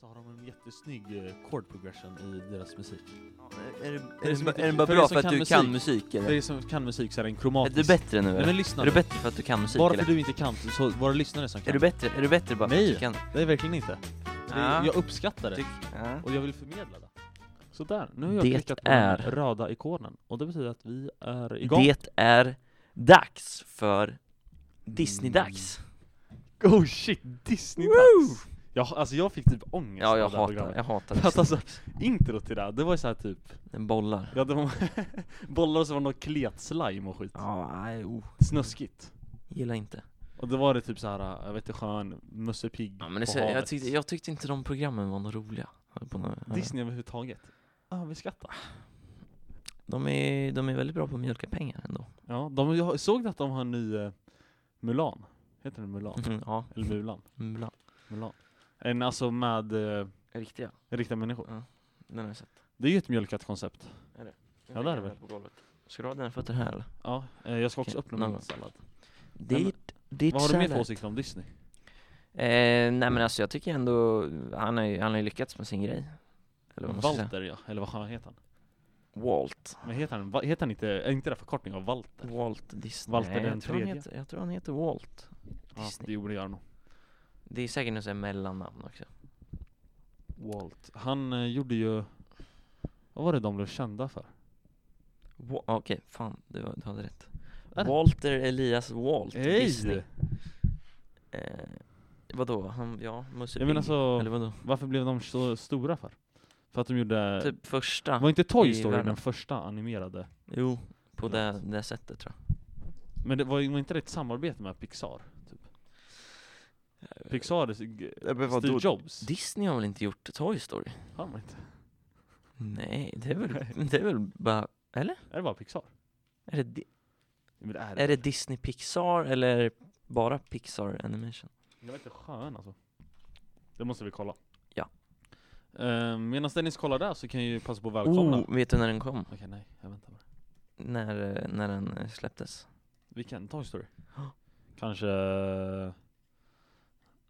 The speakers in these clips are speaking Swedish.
så har de en jättesnygg eh, chord progression i deras musik. Är, det- är, det det som ba- inte- är den bara för bra er som för att kan du musik. kan musik För eller? er som kan musik så är den Är du kromatisk. bättre nu Nej men eller? lyssna Är du nu. bättre för att du kan musik Bara för eller? att du inte kan så var det lyssnare som kan. Är du bättre? Är du bättre bara för att Nej. du kan? Det är verkligen inte. Det är, Ja. Jag uppskattar det Tyck- ja. och jag vill förmedla det. Så där, nu har jag Det klickat på är- den röda ikonen och det betyder att vi är igång. Det är dags för Disney-dags. Oh shit, Disney-dags! Ja, alltså jag fick typ ångest Ja, jag av det här hatar, programmet. jag hatar För att Disney. alltså, intro till det, här, det var ju såhär typ, Den bollar. ja, det var bollar och så var det något kletslime och skit. Ja, nej, oh. Snuskigt. Gillar inte. Och då var det typ så här, jag vet inte, skön, Musse Pigg Ja, men det, på så, jag, havet. tyckte, jag tyckte inte de programmen var något roliga. På något, Disney överhuvudtaget. Ja, vi skrattar. de, är, de är väldigt bra på att mjölka pengar ändå. Ja, de, jag såg att de har en ny eh, Mulan. Heter den Mulan? Mhm, ja, Eller Mulan? ibland. Mulan. En alltså med eh, Riktiga. riktiga människor. Den har jag sett. Det är ju ett mjölkat koncept. Ja, där är vi. väl. Ska du ha dina fötter här eller? Ja, eh, jag ska också Okej, öppna min någon- sallad. men- Ditt, ditt Vad har du mer för salad. åsikter om Disney? Eh, nej men alltså jag tycker ändå, han har ju han har ju lyckats med sin grej. Eller vad man ska säga. Walter ja, eller vad fan heter han? Walt. Men heter han, va- heter han inte, är inte det förkortning av Walter? Walt Disney. Walter Nej, jag den tror han tredje. Heter, jag tror han heter Walt. Ja, Disney. det gjorde jag nog. Det är säkert något sånt här mellannamn också. Walt. Han eh, gjorde ju, vad var det de blev kända för? Wa- Okej, fan du, du hade rätt. Är det? Walter Elias Walt Hej! Disney. Eh, vadå? Han, ja, Musse Jag menar Pigg. så, Eller vadå? varför blev de så stora för? För att de gjorde, Typ första. var inte Toy i Story världen. den första animerade? Jo, på Förlåt. det, det sättet tror jag. Men det var, ju- var inte det ett samarbete med Pixar? Typ. Eh, Pixar, Steve Jobs? Disney har väl inte gjort Toy Story? Har de inte? Mm. Nej, det är väl, det är väl bara, Är det bara Pixar? är det, Di- Men det är det. är det Disney Pixar eller bara Pixar Animation? Jag vet inte, skön alltså. Det måste vi kolla. Ja. Um, Medan Dennis kollar där så kan jag ju passa på att välkomna. Oh, vet du när den kom? Okej, nej, jag väntar bara. När, eh, när den eh, släpptes? Vilken? Toy Story? Ja. Kanske eh,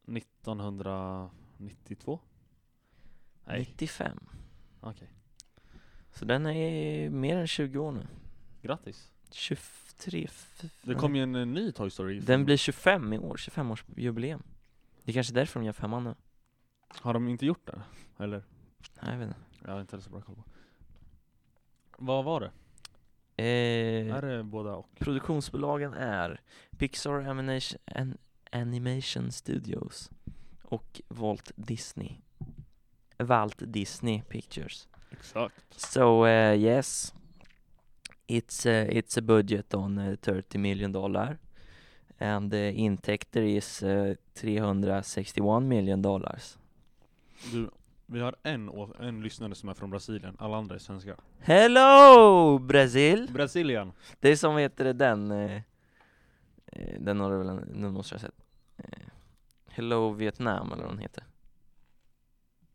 1992? Nej, 95. okej. Så den är mer än 20 år nu. Grattis. 23, f- Det kom ju en eh, ny Toy Story. Den blir 25 i år, 25-årsjubileum. Det är kanske är därför de gör femman nu. Har de inte gjort det? Eller? Nej, jag vet inte. Jag har inte så bra koll på. Vad var det? Eh, Är det båda och? Produktionsbolagen är Pixar Animation, An- Animation Studios och Walt Disney. Walt Disney Pictures. Exakt. So eh, yes, it's a, it's a budget on eh, 30 million dollar and eh, intäkter is eh, 361 million dollars. Du, vi har en, å- en lyssnare som är från Brasilien, alla andra är svenskar. Hello Brazil! Brasilien! Det är som, vad heter det, den... eh, eh, Den har du väl, en- nu måste jag ha sett. Eh, Hello Vietnam eller vad den heter.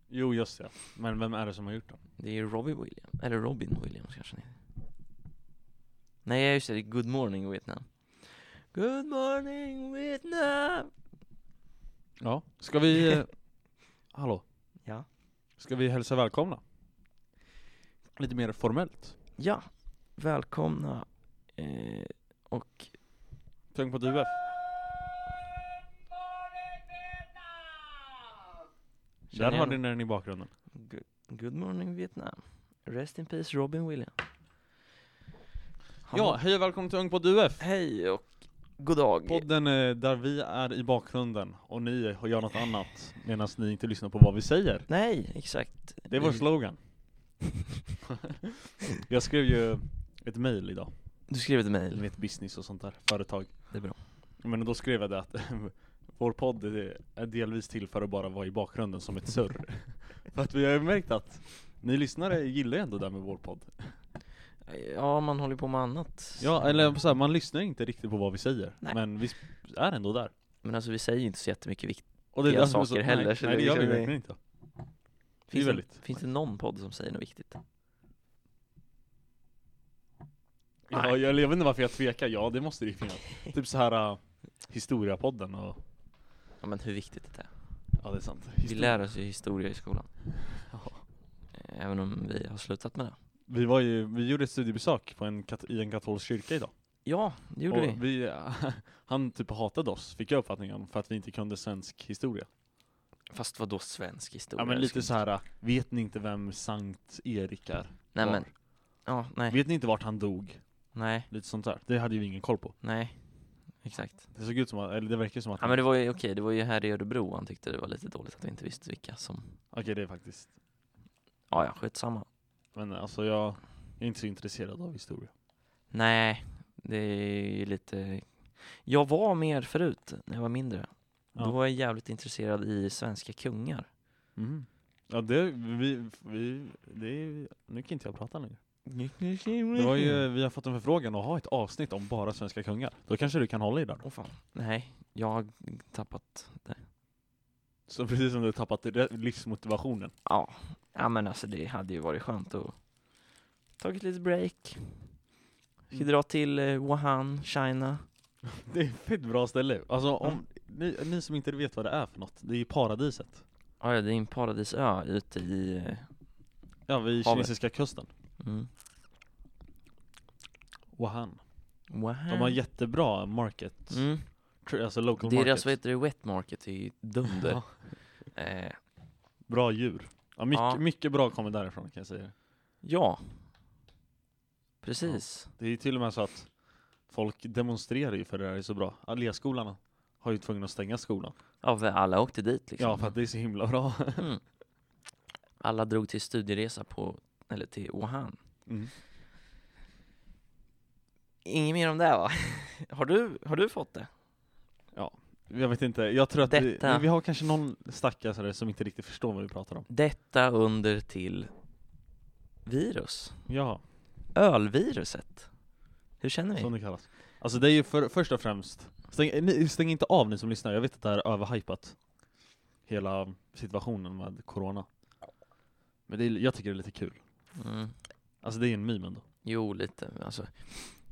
Jo just det, men vem är det som har gjort den? Det är Robbie Williams, eller Robin Williams kanske den heter. Nej just det, det är Good Morning Vietnam. Good morning Vietnam! Ja, ska vi... eh, Hallå? Ja. Ska vi hälsa välkomna? Lite mer formellt. Ja, välkomna eh, och... Tänk på du är. Där Känner har jag ni någon- den i bakgrunden. Good, good morning Vietnam. Rest in peace Robin Williams. Han Ja, var- hej och välkommen till Ung på DUF! Hej och god dag. Podden eh, där vi är i bakgrunden och ni gör något annat medan ni inte lyssnar på vad vi säger. Nej, exakt. Eh, Det är vår Vi- slogan. Jag skrev ju ett mejl idag. Du skrev ett Eller mejl. vet business och sånt där, företag. Det är bra. Men då skrev jag det att vår podd är- är delvis till för att bara vara i bakgrunden som ett surr. för att vi har ju märkt att ni lyssnare gillar ju ändå det här med vår podd. Ja, man håller på med annat. Ja, eller så här, man lyssnar ju inte riktigt på vad vi säger, Nej. men vi sp- är ändå där. Men alltså vi säger ju inte så jättemycket viktigt. Och Gör därför som saker så, heller, nej, så nej, det det är gör vi liksom- verkligen inte. Finns väldigt- finns det någon podd som säger något viktigt? Ja, jag, jag vet inte varför jag tvekar, ja det måste det ju finnas. Typ så här äh, historiapodden och Ja, men hur viktigt det är. Ja det är sant. Vi Historia. lär oss ju historia i skolan. Eh, Ja. Även om vi har slutat med det. Vi var ju, vi gjorde ett studiebesök på en kat- i en katolsk kyrka idag. Ja, det gjorde och vi. han typ hatade oss, fick jag uppfattningen, för att vi inte kunde svensk historia. Fast vad då svensk historia? Ja men Jag lite ska så inte- här. vet ni inte vem Sankt Erik är? Nej var? men, ja, nej, Vet ni inte vart han dog? nej, Lite sånt där. Det hade ju vi ingen koll på. nej. Exakt. Det såg ut som att, eller det verkar som att Ja men det var ju, okej, det var ju här i Örebro han tyckte det var lite dåligt att vi inte visste vilka som, Okej det är faktiskt, ja ja, skitsamma. men alltså jag, jag är inte så intresserad av historia. Nej, det är ju lite, jag var mer förut när jag var mindre. Ja. Då var jag jävligt intresserad i svenska kungar. Mhm. Ja det, vi, vi, det, är- nu kan inte jag prata längre. Det var ju, vi har fått en förfrågan att ha ett avsnitt om bara svenska kungar. Då kanske du kan hålla i den. Åh fan. Nej, jag har tappat det. Så precis som du tappat re- livsmotivationen. Ja. ja, men alltså det hade ju varit skönt att tagit lite break. Ska Mm. dra till eh, Wuhan, China. Det är ett fett bra ställe. Alltså om, ni, ni som inte vet vad det är för något, det är ju paradiset. Ja, ja, det är en paradisö ute i... eh, Ja, vid Havet. kinesiska kusten. Mm. Wuhan. Wuhan. De har jättebra market, mm. tr- alltså local Deras, vad market. heter det, wet market det är ju dunder. Ja, eh, bra djur. Ja, mycket, Ja. mycket bra kommer därifrån kan jag säga. ja. Precis. Det är ju till och med så att folk demonstrerar ju för det här är så bra. Alléskolorna har ju tvungna att stänga skolan. Ja, för alla åkte dit liksom. Ja, för att det är så himla bra. Mm. Alla drog till studieresa på, eller till Wuhan. Mm. Inget mer om det va? Har du, har du fått det? Jag vet inte, jag tror att vi, Detta- vi har kanske någon stackare som inte riktigt förstår vad vi pratar om. Detta under till virus. Ja, Ölviruset. Hur känner som vi? det kallas. Alltså det är ju för, först och främst, stäng, ni, stäng inte av ni som lyssnar, jag vet att det här är överhypat. Hela situationen med corona. Men det är, jag tycker det är lite kul. Mm. Alltså det är ju en meme ändå. Jo, lite. Alltså,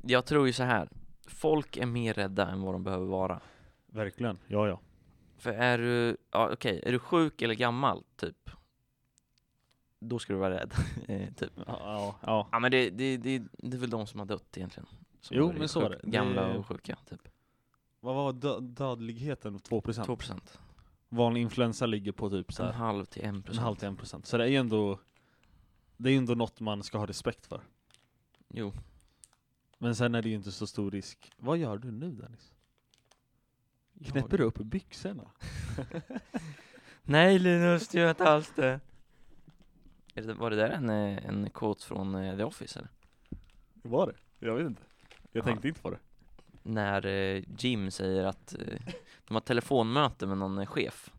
jag tror ju så här. Folk är mer rädda än vad de behöver vara. Verkligen, ja ja. För är du, ja okej, är du sjuk eller gammal, typ? Då ska du vara rädd, eh, typ. Ja, ja, ja. Ja men det, det, det, det är väl de som har dött egentligen. Som Jo, har blivit men så är sjuk- det. Det Gamla är- och sjuka, typ. Vad var dö- dödligheten? 2%? 2 procent. Vanlig influensa ligger på typ så En här, halv till en en procent. halv till en procent. Så det är ju ändå, det är ju ändå något man ska ha respekt för. Jo. Men sen är det ju inte så stor risk. Vad gör du nu Dennis? Knäpper du upp byxorna? Nej Linus, du gör inte alls det. Är det- Var det där en, eh, en quote från eh, The Office eller? Var det? Jag vet inte. Jag Ja. tänkte inte på det. När eh, Jim säger att eh, de har telefonmöte med någon eh, chef.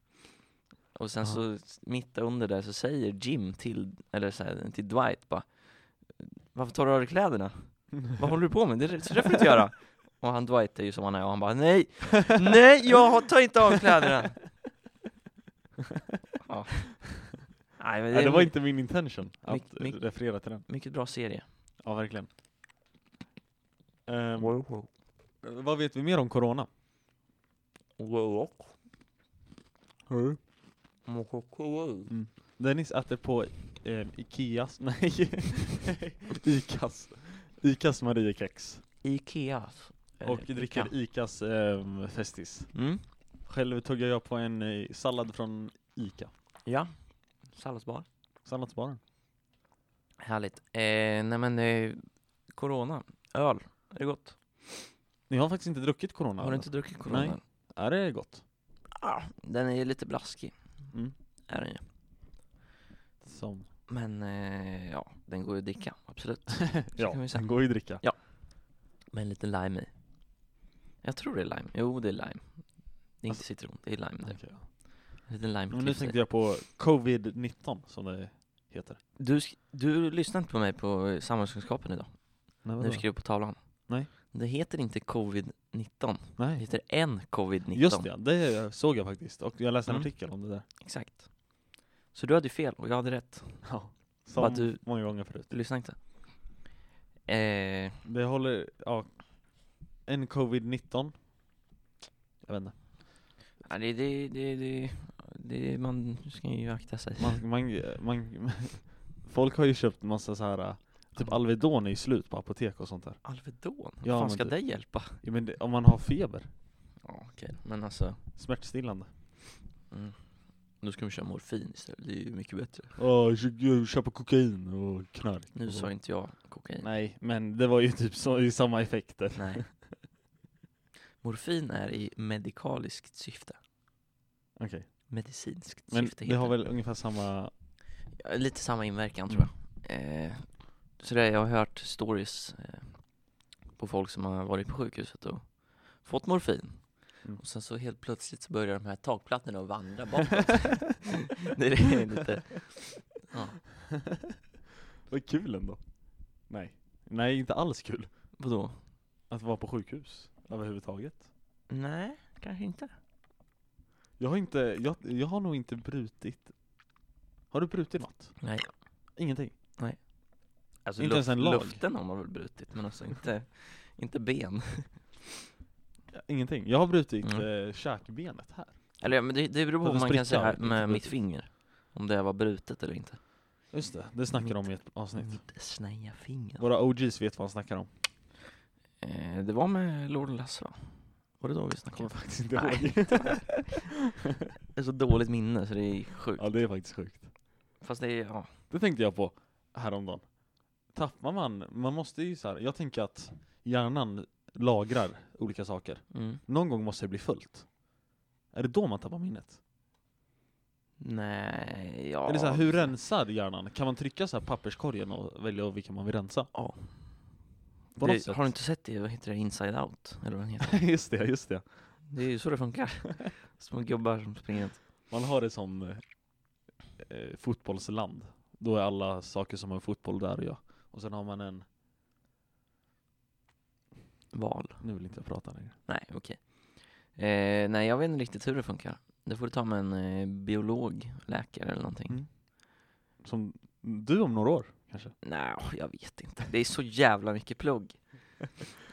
Och sen Ja. så s- mitt under där så säger Jim till, eller så här, till Dwight bara Varför tar du av dig kläderna? Vad håller du på med? Det, så det får du inte göra! Och han Dwight är ju som han är och han bara nej, nej jag tar inte av kläderna! Ja. Nej, men det, Nej, är det var en inte min intention att Mick- Mick- referera till den. mycket bra serie. Ja, verkligen. Ehm, vad vet vi mer om corona? Dennis äter på eh, Ikeas, nej, Icas, Icas Mariekex. Ikea. eh, Och dricker Icas ehm, Festis. Mm. Själv tuggar jag på en eh, sallad från Ica. Ja. Salladsbar. Salladsbaren. Härligt. Eh, nej men, eh, corona. Öl. Är det gott? Ni har faktiskt inte druckit corona? Har du eller? inte druckit corona? Nej. Är det gott? Ah, den är ju lite blaskig. Mm. Är den ju. Som. Men eh, ja, den går ju att dricka. Absolut. ja, kan vi säga. den går ju att dricka. Med lite lime i. Jag tror det är lime. Jo, det är lime. Det är inte citron, det är lime. typ. Det. Okej. En liten Alltså- lime Men nu tänkte jag på covid-19 som det heter. Du, sk- du lyssnar inte på mig på eh, samhällskunskapen idag. Nej, När du skrev på tavlan. Nej. Det heter inte covid-19. Det Nej. heter en covid-19. Just det, det såg jag faktiskt. Och jag läste en Mm. artikel om det där. Exakt. Så du hade ju fel och jag hade rätt. Ja. Bara Som du- många gånger förut. Du lyssnade inte. Eh, Det håller, ja. En covid-19. Jag vet inte. ja, det, det, det, det, det, är- man ska ju akta sig. Man, man, man, folk har ju köpt massa så här äh, typ Alvedon är ju slut på apotek och sånt där. Alvedon? Vad Ja, fan men ska typ. det hjälpa? Ja, men det, om man har feber, Ja, okej. Men alltså, smärtstillande. mm. nu ska vi köra morfin istället. Det är ju mycket bättre. Åh, oh, köpa kokain och knark. Nu sa inte jag kokain. Nej, men det var ju typ så, i samma effekter. Nej. Morfin är i medikaliskt syfte. Okej. Medicinskt Men syfte det heter har väl ungefär samma... Ja, Lite samma inverkan Mm. tror jag. Eh, så det, jag har hört stories eh, på folk som har varit på sjukhuset och fått morfin. Mm. Och sen så helt plötsligt så börjar de här takplattorna att vandra bakåt. det är lite, ja. Vad kul ändå. Nej. Nej, inte alls kul. Vadå? Att vara på sjukhus överhuvudtaget. Nej, kanske inte. Jag har inte, jag, jag har nog inte brutit. Har du brutit något? Nej. Ingenting? Alltså Inte ens en lag. luften har man väl brutit, men alltså inte, inte ben. Ingenting. Jag har brutit Mm. eh, käkbenet här. Eller ja, men det, det beror på Att vad det man kan spricker säga allt, inte med mitt brutet. finger. Om det var brutet eller inte. Just det, det snackar de i Mm. ett avsnitt. Mitt snäva finger. Våra OGs vet vad han snackar om. Eh, det var med Lord och Lasse va? Var det då vi Jag kommer snackade? faktiskt inte Nej. ihåg. Det är så dåligt minne så det är sjukt. ja, det är faktiskt sjukt. Fast det är, ja. Det tänkte jag på häromdagen. Tappar man, man måste ju så här. jag tänker att hjärnan lagrar olika saker. Mm. Någon gång måste det bli fullt. Är det då man tappar minnet? Nej, ja. Eller så här, hur rensar hjärnan? Kan man trycka så här papperskorgen och välja vilka man vill rensa? Ja. På något det, sätt. har du inte sett det? Vad heter det? Inside Out? Eller vad den heter? just det, just det. Det är ju så det funkar. Små gubbar som springer runt. Man har det som eh, eh, fotbollsland. Då är alla saker som har med fotboll där och jag. Och sen har man en, Val. nu vill inte jag prata längre. Nej, okej. Eh, nej, jag vet inte riktigt hur det funkar. Det får du ta med en eh, biolog, läkare eller någonting. Mm. Som du om några år kanske? Nej, jag vet inte. Det är så jävla mycket plugg.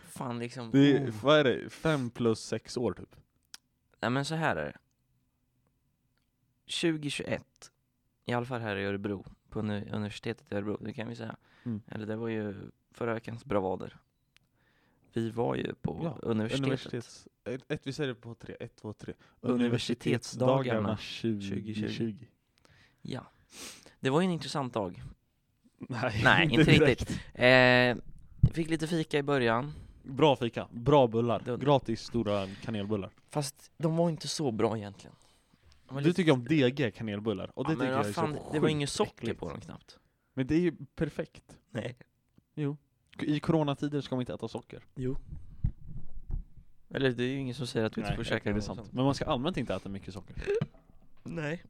Fan liksom. Det är, oh. vad är det? Fem plus sex år typ? Nej men så här är det. 2021, i alla fall här i Örebro, på uni- universitetet i Örebro, det kan vi säga. Mm. Eller det var ju förra veckans bravader. Vi var ju på Ja, universitetet. Universitets... Ett, ett, vi säger det på tre, ett, två, tre. Universitetsdagarna 2020. 2020. Ja. Det var ju en intressant dag. Nej, Nej, inte direkt. Eh, fick lite fika i början, Bra fika, bra bullar, Dunder. gratis stora kanelbullar. fast de var inte så bra egentligen. De var Du lite- tycker om DG kanelbullar, och det Ja, men tycker jag vad är fan, så Det var sjukt inget socker äckligt. på dem knappt. Men det är ju perfekt. Nej. I coronatider ska man inte äta socker. Jo. Eller det är ju ingen som säger att vi inte Nej, får käka det är något sant. sånt. Men man ska allmänt inte äta mycket socker. Nej.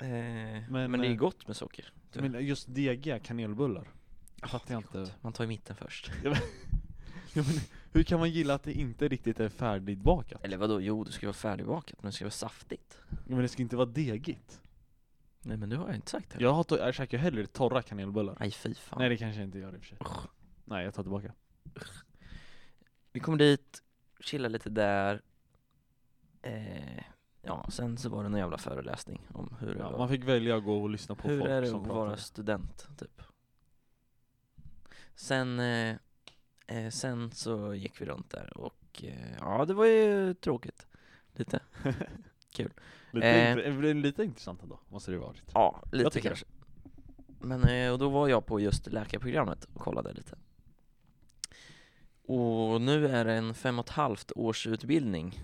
Eh, men, Men, det är eh, gott med socker. Tyvärr. Men just DG kanelbullar. Fattar jag inte. Man tar i mitten först. Ja, men, hur kan man gilla att det inte riktigt är färdigbakat? Eller vadå? Jo, det ska vara färdigbakat, men det ska vara saftigt. Ja, men det ska inte vara degigt. Nej men det har jag inte sagt heller. Jag, har to- jag käkar hellre torra kanelbullar. Aj fy fan. Nej det kanske jag inte gör i och för sig. Nej jag tar tillbaka. Vi kom dit, chillade lite där. Eh, ja, sen så var det en jävla föreläsning om hur det Ja, var. man fick välja att gå och lyssna på Hur folk är det som att vara student, typ? Sen, eh, eh, sen så gick vi runt där och eh, ja, det var ju tråkigt. Lite. pratar. lite, Eh. int- lite intressant ändå, måste det ju varit. Ja, Jag lite tycker kanske. Men eh, och då var jag på just läkarprogrammet och kollade lite. Och nu är det en fem och ett halvt års utbildning.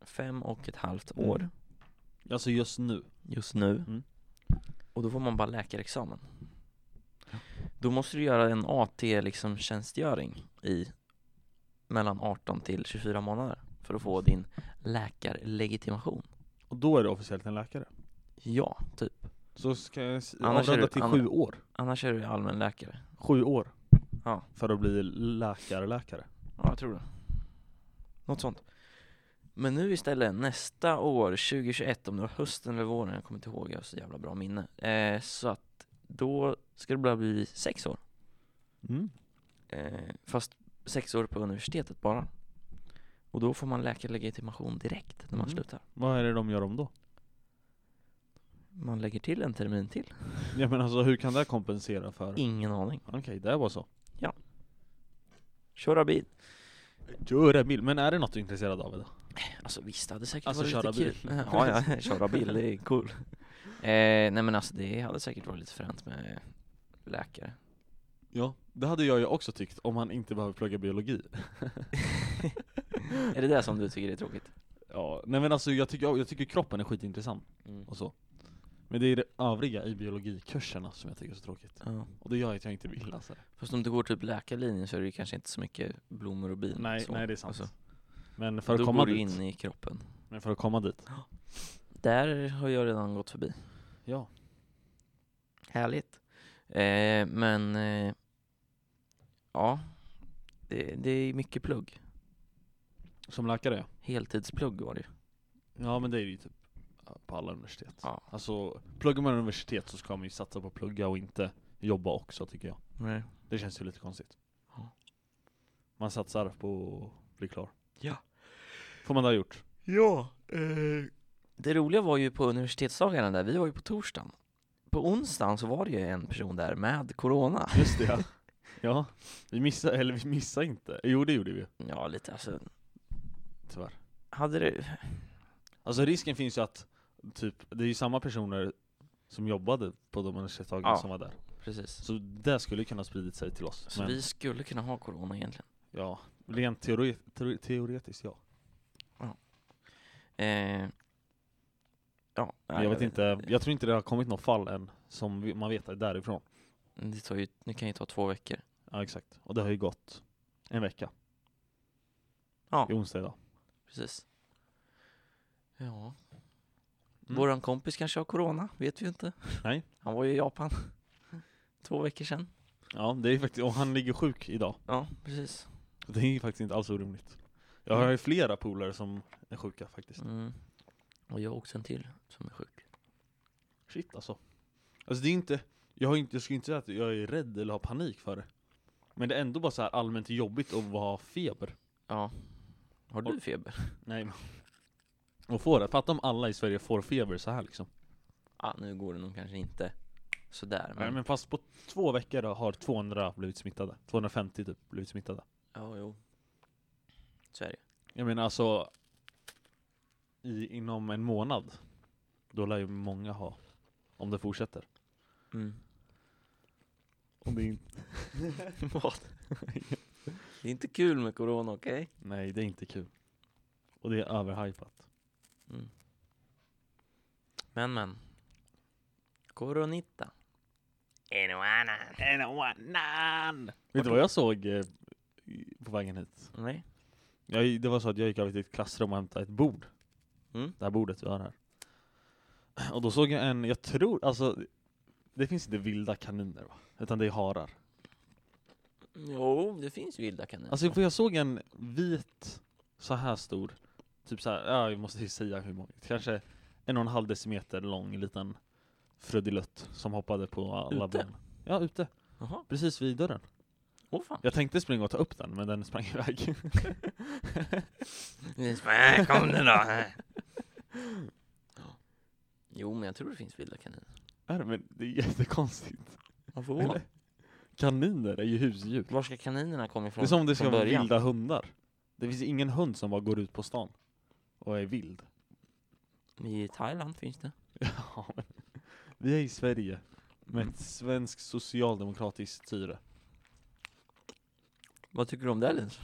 Fem och ett halvt år Mm. Alltså just nu. just nu. Mm. Och då får man bara läkarexamen. Då måste du göra en AT-tjänstgöring i mellan 18 till 24 månader för att få din läkarlegitimation. Och då är du officiellt en läkare. Ja, typ. Så ska jag s- Annars är avrunda du- till annars- sju år. Annars är du allmänläkare. Sju år. Ja. För att bli läkare-läkare. Ja, jag tror det. Något sånt. Men nu istället, nästa år, 2021, om det var hösten eller våren, jag kommer inte ihåg, jag har så jävla bra minne. Eh, så att då ska det bara bli sex år. Mm. Eh, fast sex år på universitetet bara. Och då får man läkarlegitimation direkt när man Mm. slutar. Vad är det de gör om då? Man lägger till en termin till. Ja men alltså hur kan det kompensera för? Ingen aning. Okej, det var så. Köra bil. Köra bil, men är det något du är intresserad av idag? Alltså visst, det hade säkert Alltså, varit lite köra kul. bil. ja, ja, köra bil, det är cool. Eh, nej men alltså det hade säkert varit lite fränt med läkare. Ja, det hade jag ju också tyckt om han inte behöver plugga biologi. Är det det som du tycker är tråkigt? Ja, nej men alltså jag tycker, jag tycker kroppen är skitintressant och så. Men det är det övriga i biologikurserna som jag tycker är så tråkigt. Ja. Och det gör att jag inte vill läsa det. Fast om du går typ läkarlinjen så är det ju kanske inte så mycket blommor och bin. Nej, så. nej det är sant. Alltså, Men för att då komma går du dit. in i kroppen. Men för att komma dit. Där har jag redan gått förbi. Ja. Härligt. Eh, men eh, ja, det, det är mycket plugg. Som läkare ja. Heltidsplugg var det ju. Ja men det är ju typ på alla universitet. Ja. Alltså, pluggar man universitet så ska man ju satsa på att plugga och inte jobba också tycker jag. Nej. Det känns ju lite konstigt. Ja. Man satsar på att bli klar. Ja. Får man det ha gjort. Ja, eh. Det roliga var ju på universitetsdagarna där, vi var ju på torsdagen. På onsdagen så var det ju en person där med corona. Just det ja. ja. Vi missade, eller vi missade inte. Jo det gjorde vi ju, Ja, lite alltså. tyvärr. Hade det... Alltså risken finns ju att, typ, det är ju samma personer som jobbade på de universitetsdagarna Ja. som var där. Precis. Så det skulle kunna ha spridit sig till oss. Så Men vi skulle kunna ha corona egentligen. ja, rent teori, teori, teoretiskt ja. Eh, ja, eh, Men jag vet inte, jag tror inte det har kommit något fall än som vi- man vet är därifrån. Det, tar ju, det kan ju ta två veckor. Ja exakt, och det har ju gått en vecka. Ja. I onsdag idag. Precis. Ja. Mm. Våran kompis kanske har corona, vet vi ju inte. Nej. Han var ju i Japan. Två veckor sedan. Ja, det är faktiskt, och han ligger sjuk idag. Ja, precis. Det är ju faktiskt inte alls orimligt. Jag har ju flera polare som är sjuka faktiskt. Mm. Och jag har också en till som är sjuk. Shit alltså. Alltså det är inte, jag, har inte, jag skulle inte säga att jag är rädd eller har panik för det. Men det är ändå bara så här allmänt jobbigt att ha feber. Ja. Har du Och- feber? Nej men. Och få det. Fatta om alla i Sverige får feber så här liksom. Ja, nu går det nog kanske inte sådär. Nej Men... men fast på två veckor då har 200 blivit smittade. 250 typ blivit smittade. Ja, jo. Så är det ju. Jag menar alltså, i, inom en månad, då lär ju många ha. Om det fortsätter. Mm. Om det det är inte kul med corona, okej? Nej, det är inte kul. Och det är överhypat. Mm. Men, men. Coronita. En och annan. Vet du vad jag såg eh, i- på vägen hit? Nej. Jag, det var så att jag gick över till ett klassrum och hämtade ett bord. Mm. Det här bordet vi har här. Och då såg jag en, jag tror, alltså det finns inte vilda kaniner va? Utan det är harar. Jo, det finns vilda kaniner. Alltså för jag såg en vit, så här stor, typ så här, ja jag måste ju säga hur många, kanske en och en halv decimeter lång liten Frödilutt som hoppade på alla Ute? ben. Ja, ute. Jaha, Precis vid dörren. åh fan. Jag tänkte springa och ta upp den, men den sprang iväg. Äh, Kom nu då. äh. Ja. Jo, men jag tror det finns vilda kaniner. Är det? Men det är jättekonstigt. Man Eller? Kaniner är ju husdjur. Var ska kaninerna komma Det ifrån? är som om det från ska vara början? vilda hundar. Det finns ingen hund som bara går ut på stan och är vild. I Thailand finns det. Ja, men vi är i Sverige med ett svenskt socialdemokratiskt styre. Vad tycker du om det Linus?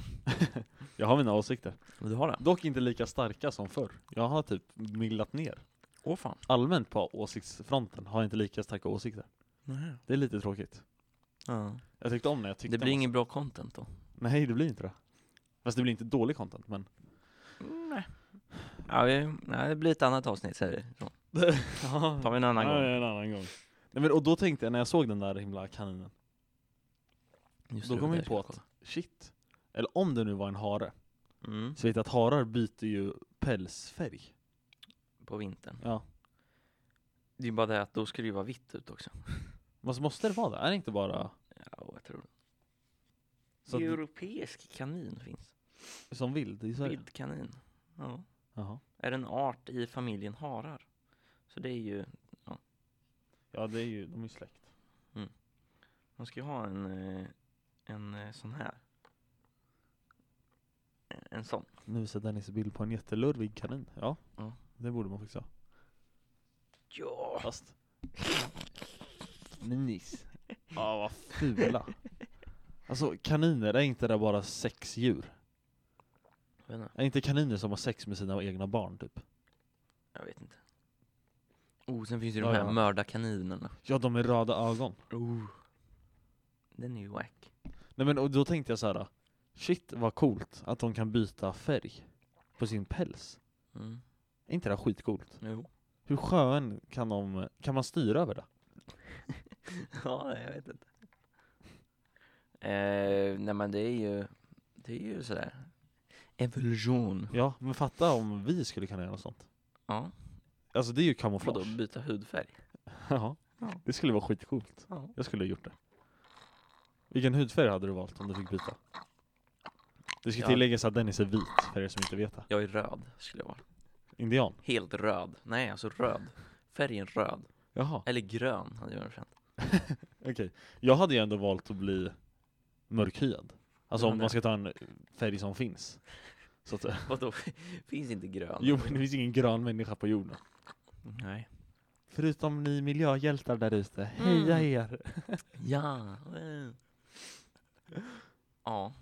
Jag har mina åsikter. Du har det? Dock inte lika starka som förr. Jag har typ millat ner. Åh fan. Allmänt på åsiktsfronten har jag inte lika starka åsikter. Nej. Det är lite tråkigt. Ja. Jag tyckte om när jag tyckte Det blir om- ingen bra content då? Nej, det blir inte det. Fast det blir inte dålig content, men... Nej. Ja, vi, nej, det blir ett annat avsnitt säger vi. Så. ja, Tar vi en annan ja, gång. en annan gång. Nej, men, och då tänkte jag, när jag såg den där himla kaninen, Just då det, kom det jag ska på att shit, eller om det nu var en hare, kolla. Mm. så vet jag att harar byter ju pälsfärg. På vintern. Ja. Det är ju bara det att då ska det ju vara vitt ut också. Men så måste det vara det? Är det inte bara... Ja, jag tror det. Så att, Europeisk kanin finns. Som vild i Sverige? Vildkanin. Ja. Jaha. Är en art i familjen harar. Så det är ju, Ja, det är ju, de är ju släkt. man ska ju ha en, eh, en eh, sån här. Eh, En sån. Nu visar Dennis bild på en jättelurvig kanin. Ja, Ja. det borde man faktiskt ha. Ja! Fast... Minis. Ja, vad fula. Alltså kaniner, är inte det bara sexdjur? Jag vet inte. Är inte kaniner som har sex med sina egna barn typ? Jag vet inte. Oh, sen finns ju de Ja, här ja. mördarkaninerna. Ja, de är röda ögon. Oh. Den är ju wack. Nej men och då tänkte jag så här. shit vad coolt att de kan byta färg på sin päls. Mm. Är inte det här skitcoolt? Jo. Hur skön kan de, kan man styra över det? ja, jag vet inte. Eh, nej men det är ju, det är ju sådär. Evolution. Ja, men fatta om vi skulle kunna göra något sånt. Ja. Alltså det är ju Vadå, kamouflage. byta hudfärg? Ja, Ja. det skulle vara skitcoolt. Ja. Jag skulle ha gjort det. Vilken hudfärg hade du valt om du fick byta? Det ska Ja. tilläggas att Dennis är vit, för er som inte vet det. Jag är röd, skulle jag vara. Indian. Helt röd. Nej, alltså röd. Färgen röd. Jaha, Eller grön hade jag varit fint. okej. Jag hade ju ändå valt att bli mörkhyad. Alltså Ja, om det- man ska ta en färg som finns. Så att, Vadå, finns inte grön? jo men det finns ingen grön människa på jorden. Nej. Förutom ni miljöhjältar där ute, Heja er! Ja. eh. Ja.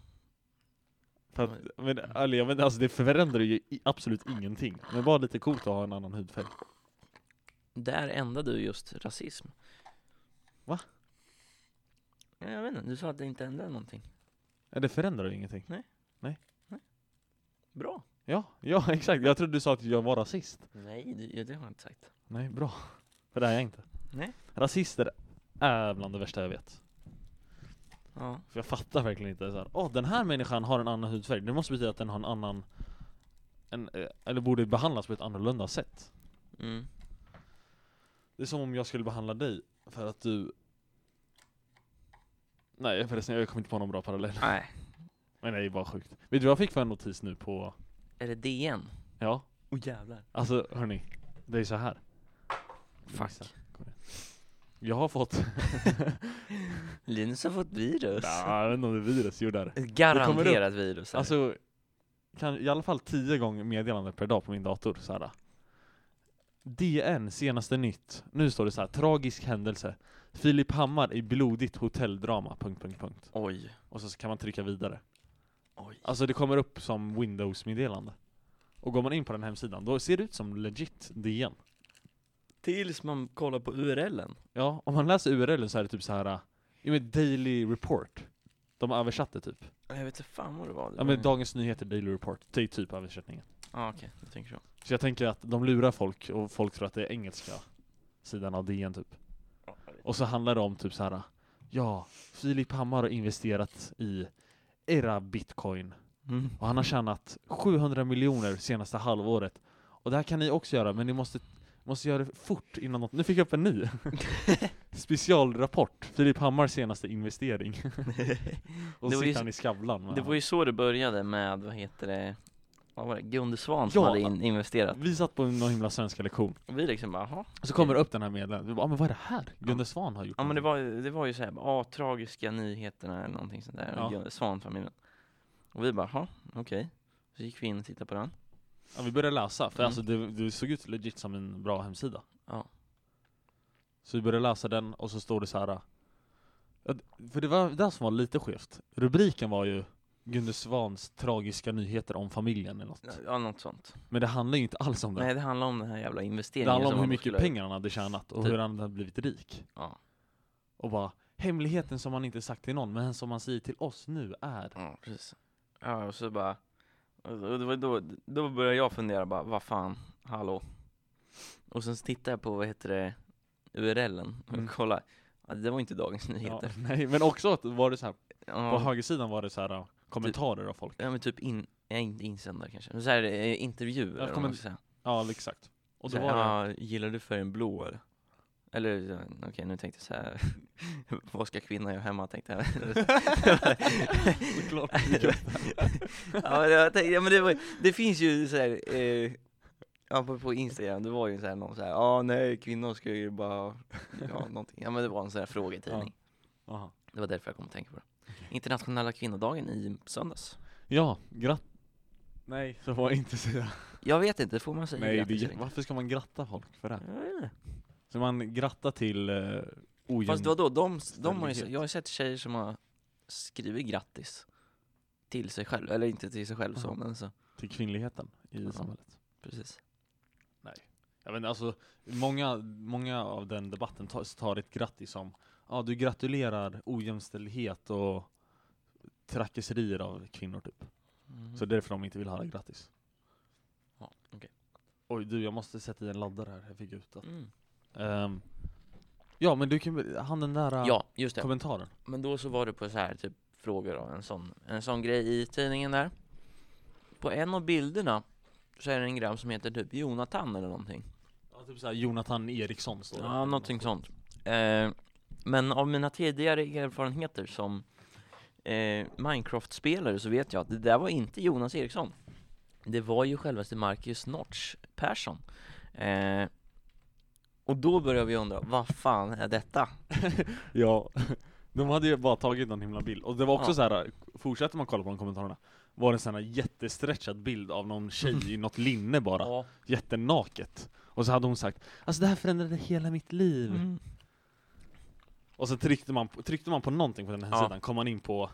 För att, men, ärligt, jag menar, alltså det förändrar ju i- absolut ingenting. Men bara lite coolt att ha en annan hudfärg. Där ändade du just rasism. Va? Ja, Jag vet inte, du sa att det inte ändrade någonting. Ja, Det förändrar ju ingenting. Bra. Ja, ja exakt. Jag trodde du sa att jag var rasist. Nej, det, det har jag inte sagt. Nej, bra. För det är jag inte. Nej. Rasister är bland det värsta jag vet. Ja. För jag fattar verkligen inte så här. Åh, den här människan har en annan hudfärg. Det måste betyda att den har en annan... En, eh, eller borde behandlas på ett annorlunda sätt. Mm. Det är som om jag skulle behandla dig för att du... Nej förresten, jag kom inte på någon bra parallell. Nej. Men det är bara sjukt. Vet du vad jag fick för en notis nu på... Är det DN? Ja, Åh oh, jävlar. alltså hörni. Det är så här. Fuck. Jag har fått... Linus har fått virus. Nah, jag vet inte om det är virus, jo det är det. Ett Garanterat virus. är det. Alltså, kan, i alla fall tio gånger meddelande per dag på min dator. Så här. DN, senaste nytt. Nu står det så här, tragisk händelse. Filip Hammar i blodigt hotelldrama, punkt, punkt, punkt. Oj. Och så kan man trycka vidare. Oj. Alltså det kommer upp som Windows-meddelande. Och går man in på den hemsidan, då ser det ut som legit DN. Tills man kollar på URLen. Ja, om man läser URLen så är det typ så här, ja men Daily Report. De översatte typ. Jag vet inte fan vad det var. Ja men Dagens Nyheter, Daily Report. Det är typ översättningen. ah, okej, jag tänker så. Så jag tänker att de lurar folk och folk tror att det är engelska sidan av DN typ. Och så handlar det om typ så här. Ja, Filip Hammar har investerat i era bitcoin Mm. och han har tjänat 700 miljoner senaste halvåret. Och det här kan ni också göra, men ni måste, måste göra det fort innan något... Nu fick jag upp en ny! Specialrapport, Filip Hammars senaste investering. och Det så var sitter ju så- han i Skavlan. med Det han. var ju så det började med, vad heter det, vad var det, Gunde Svan som Ja. hade in, investerat. Vi satt på någon himla svenska lektion, Och vi liksom bara, jaha. och så kommer det upp den här meddelandet, vi bara, ah, men vad är det här? Gunde Svan har gjort Ja men det någonting." var, ju- det var ju såhär, ah, tragiska nyheterna eller någonting sånt där, Ja. Gunde Svan-familjen. Och vi bara, jaha, okej. Så gick vi in och tittade på den. Ja, vi började läsa, för Mm. alltså det, det såg ut legit som en bra hemsida. Ja. Så vi började läsa den, och så står det så här. ja, d- För det var det som var lite skevt. Rubriken var ju Gunde Svans tragiska nyheter om familjen eller något. Ja, något sånt. Men det handlar ju inte alls om det. Nej, det handlar om den här jävla det investeringen handlar som om hur han mycket skulle ha pengar han hade tjänat och Typ. hur han hade blivit rik. gjort. Ja. Och bara, hemligheten som han inte sagt till någon, men som han säger till oss nu är. Ja, precis. Ja, och så bara, och det var då, då började jag fundera bara, vad fan, hallå? Och sen tittade jag på, vad heter det, URLen och Mm. kollade. Ja, det var inte Dagens Ja, Nyheter. nej, men också att var det så här, Ja, Typ. på högersidan var det så här ja, kommentarer av folk. ja men typ in, ja, inte insändare kanske, men så här, eh, intervjuer eller Ja, vad kommer- man ska säga. Ja, exakt. Och Och då så var här, "Ah, det, ja, gillar du färgen blå eller? Eller, ja, okej eh, nu tänkte jag så här. Vad ska kvinnan göra hemma tänkte jag. Såklart. ja, men jag tänkte, ja, men det, var, det finns ju så här, eh, ja, på, på Instagram, det var ju så här någon så här, ja ah, nej kvinnor ska ju bara, ja någonting. Ja men det var en sån här frågetidning. Aha. Det var därför jag kom att tänka på det. Internationella kvinnodagen i söndags. Ja, gratt... Nej, så får jag inte säga. Jag vet inte, får man säga Nej, grattis det, eller är- inte? varför ska man gratta folk för det? Jag vet inte. Så man grattar till uh, ojämn... Fast vadå, de, de har ju, Stabilitet. jag har sett tjejer som har skrivit grattis till sig själv, eller inte till sig själv så, Ja. men så, Till kvinnligheten i Ja. samhället. precis. Jag vet inte, alltså, många, många av den debatten tar, tar ett grattis som ja, du gratulerar ojämställdhet och trakasserier av kvinnor typ. Mhm. Så det är därför de inte vill höra grattis. Ja, okej. Oj du, jag måste sätta i en laddare här, jag fick ut den. Mm. Ehm, ja men du kan väl- han den där eh, Ja, typ. just det. kommentaren. Men då så var det på så här typ frågor och en sån, en sån grej i tidningen där. På en av bilderna så är det en grabb som heter typ Jonathan eller någonting. Ja, typ såhär Jonathan Eriksson står det. Ja, någonting sånt. Eh, men av mina tidigare erfarenheter som eh, Minecraft-spelare så vet jag att det där var inte Jonas Eriksson. Det var ju självaste Marcus Notch Persson. Eh, och då börjar vi undra, vad fan är detta? Ja, de hade ju bara tagit någon himla bild. Och det var också Ja. så här. fortsätter man kolla på de kommentarerna, var det en sån här jättestretchad bild av någon tjej i något linne bara, Ja. jättenaket. Och så hade hon sagt 'Alltså det här förändrade hela mitt liv' Mm. Och så tryckte man, på- tryckte man på någonting på den här Ja. sidan, kom man in på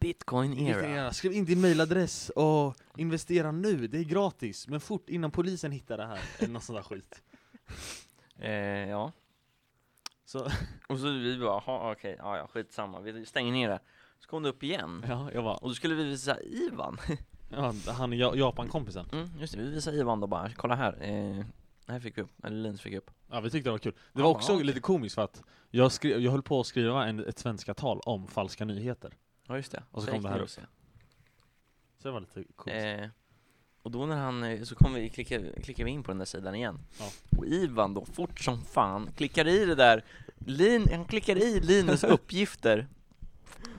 Bitcoin era. Investera. Skriv in din mailadress och investera nu, det är gratis, men fort innan polisen hittar det här, eller någon sån där skit. Eh, ja. Så, Och så vi bara, "Jaha, okej, ja, ja, skitsamma, vi stänger ner det. Så kom det upp igen. ja, jag bara, Och då skulle vi visa Ivan. ja, han är Ja- Japan-kompisen. Mm, just det, vi visar Ivan då bara, kolla här. Eh, det här fick vi upp, eller Linus fick upp. Ja, vi tyckte det var kul. Det var Ja, också okej. lite komiskt för att jag, skrev, jag höll på att skriva en, ett svenska tal om falska nyheter. Ja just det. Och så Sen kom gick det här news, Så det var lite ja. coolt. Eh, och då när han, eh, så kom vi, klickade, klickade vi in på den där sidan igen. Ja. Och Ivan då, fort som fan, klickar i det där, Lin, han klickar i Linus uppgifter.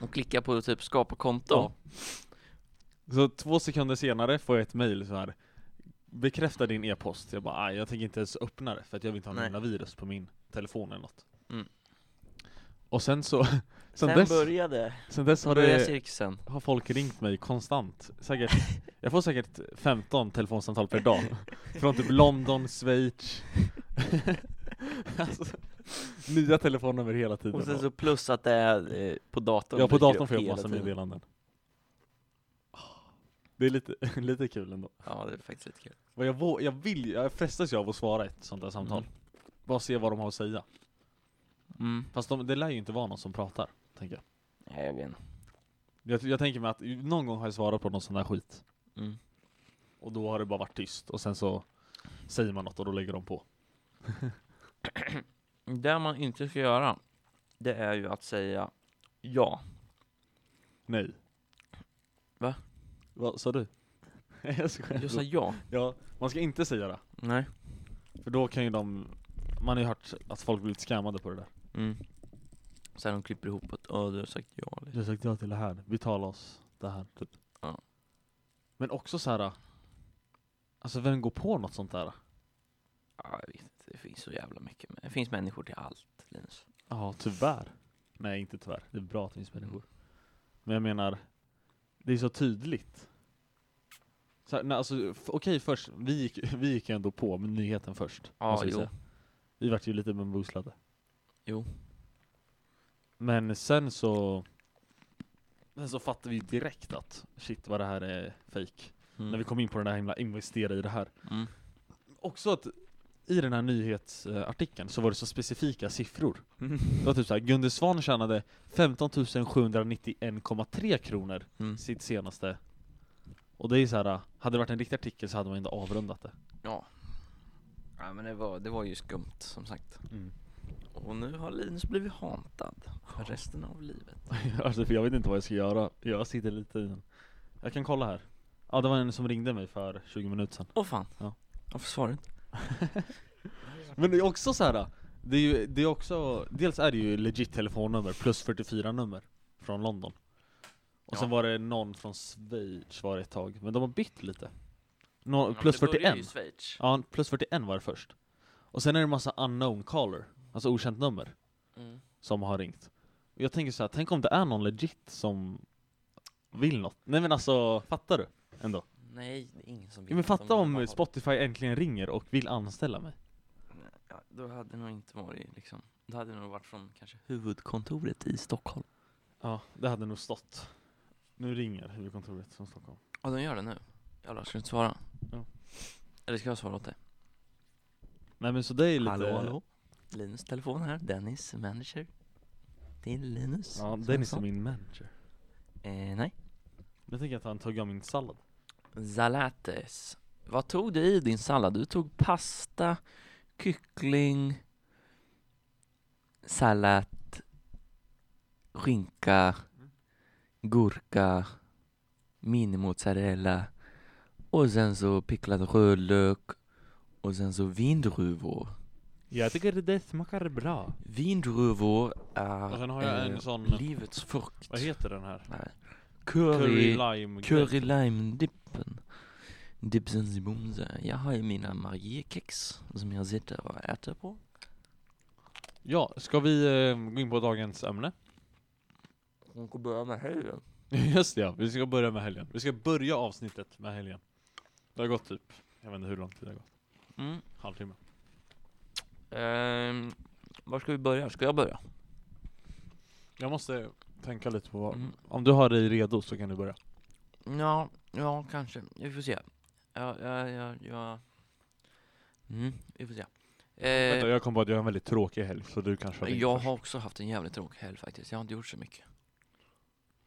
Och klickar på typ skapa konto. Ja. Så två sekunder senare får jag ett mail så här. Bekräfta din e-post. Jag bara, "Aj, jag tänker inte ens öppna det för att jag vill inte ha Nej. några virus på min telefon eller något. Mm. Och sen så, sen, Sen dess, började, sen dess har, började det, cirkusen. har folk ringt mig konstant. Säkert, jag får säkert 15 telefonsamtal per dag. Från typ London, Schweiz. alltså, nya telefonnummer hela tiden. Och sen så plus att det är eh, på datorn. ja, på dyker datorn upp får jag hela massa tiden. meddelanden. Det är lite, lite kul ändå. Ja, det är faktiskt lite kul. Vad jag, vå- jag vill, jag frestas ju av att svara ett sånt där samtal. Mm. Bara se vad de har att säga. Mm. Fast de, det lär ju inte vara någon som pratar, tänker jag. Nej, jag vet inte. jag. Jag tänker mig att någon gång har jag svarat på någon sån där skit. Mm. Och då har det bara varit tyst, och sen så säger man något och då lägger de på. Det man inte ska göra, det är ju att säga ja. Nej. Va? Vad sa du? jag skojar. Jag sa ja. Ja, man ska inte säga det. Nej. För då kan ju de, man har ju hört att folk blivit scammade på det där. Mm. Sen de klipper ihop att "Åh, du har sagt ja. Du har sagt ja till det här, betala oss det här typ. Ja. Men också så här. Alltså vem går på något sånt där? Ja, jag vet inte. Det finns så jävla mycket. men Det finns människor till allt, Linus. Ja, tyvärr. Nej, inte tyvärr. Det är bra att det finns Mm. människor. Men jag menar, det är så tydligt. Så här, nej, alltså, f- okej först, vi gick, vi gick ju ändå på med nyheten först. Ja, måste jag jo. säga. Vi vart ju lite bambuslade. Jo. Men sen så, sen så fattade vi direkt att shit vad det här är fake. Mm. När vi kom in på den där himla investera i det här. mm. också att i den här nyhetsartikeln så var det så specifika siffror. Mm. Det var typ såhär, Gunde Svan tjänade 15 791,3 kronor Mm. sitt senaste. Och det är så här, hade det varit en riktig artikel så hade man inte avrundat det. Ja. Ja, men det var, det var ju skumt, som sagt. Och nu har Linus blivit hantad för resten av livet. alltså, för jag vet inte vad jag ska göra. Jag sitter lite i en... Jag kan kolla här. Ja, det var en som ringde mig för 20 minuter sedan. Åh fan. Ja. Varför svarar du inte? Men det är också så här. Det är ju, det är också, dels är det ju legit telefonnummer, plus 44 nummer från London. Och sen Ja. var det någon från Schweiz var det ett tag, men de har bytt lite. Nå- Ja, men plus det börjar 41. ju i Schweiz. Ja, plus 41 var det först. Och sen är det en massa unknown caller, alltså okänt nummer, Mm. som har ringt. Och jag tänker så här, tänk om det är någon legit som vill något. Nej men alltså, fattar du? Ändå. Nej, det är ingen som Ja, men vill. fatta De vill bara ha- om Spotify äntligen ringer och vill anställa mig. Ja, då hade det nog inte varit liksom, då hade det nog varit från kanske huvudkontoret i Stockholm. Ja, det hade nog stått. Nu ringer huvudkontoret från Stockholm. Ja, de gör det nu. Jävlar, ska du inte svara? Ja. Eller ska jag svara åt dig? Nej men så det är ju lite... Linus telefon här, Dennis, manager. Det är Linus. Ja, Dennis är liksom min manager. Eh, nej. Nu tänker jag ta en tugga av min sallad. Zalates. Vad tog du i din sallad? Du tog pasta, kyckling, sallad, skinka, gurka, minimozzarella och sen så picklad rödlök och sen så vindruvor. Jag tycker det smakar bra. Vindruvor är Och sen har jag en eh, sån- livets frukt. Vad heter den här? Nej. Curry Curry, lime Curry lime dippen. Dipsen zibonze. Jag har ju mina Mariekex som jag sitter och äter på. Ja, ska vi eh, gå in på dagens ämne? Hon kan börja med helgen. Just det, ja, vi ska börja med helgen. Vi ska börja avsnittet med helgen. Det har gått typ, jag vet inte hur lång tid det har gått. Mm. Halvtimme. Ehm, var ska vi börja? Ska jag börja? Jag måste tänka lite på vad... Mm. Om du har dig redo så kan du börja. Ja, ja kanske. Vi får se. Ja, ja, ja, ja. Mm, vi får se. Eh, Vänta, jag kom på att jag har en väldigt tråkig helg, så du kan köra in Jag först. har också haft en jävligt tråkig helg faktiskt. Jag har inte gjort så mycket.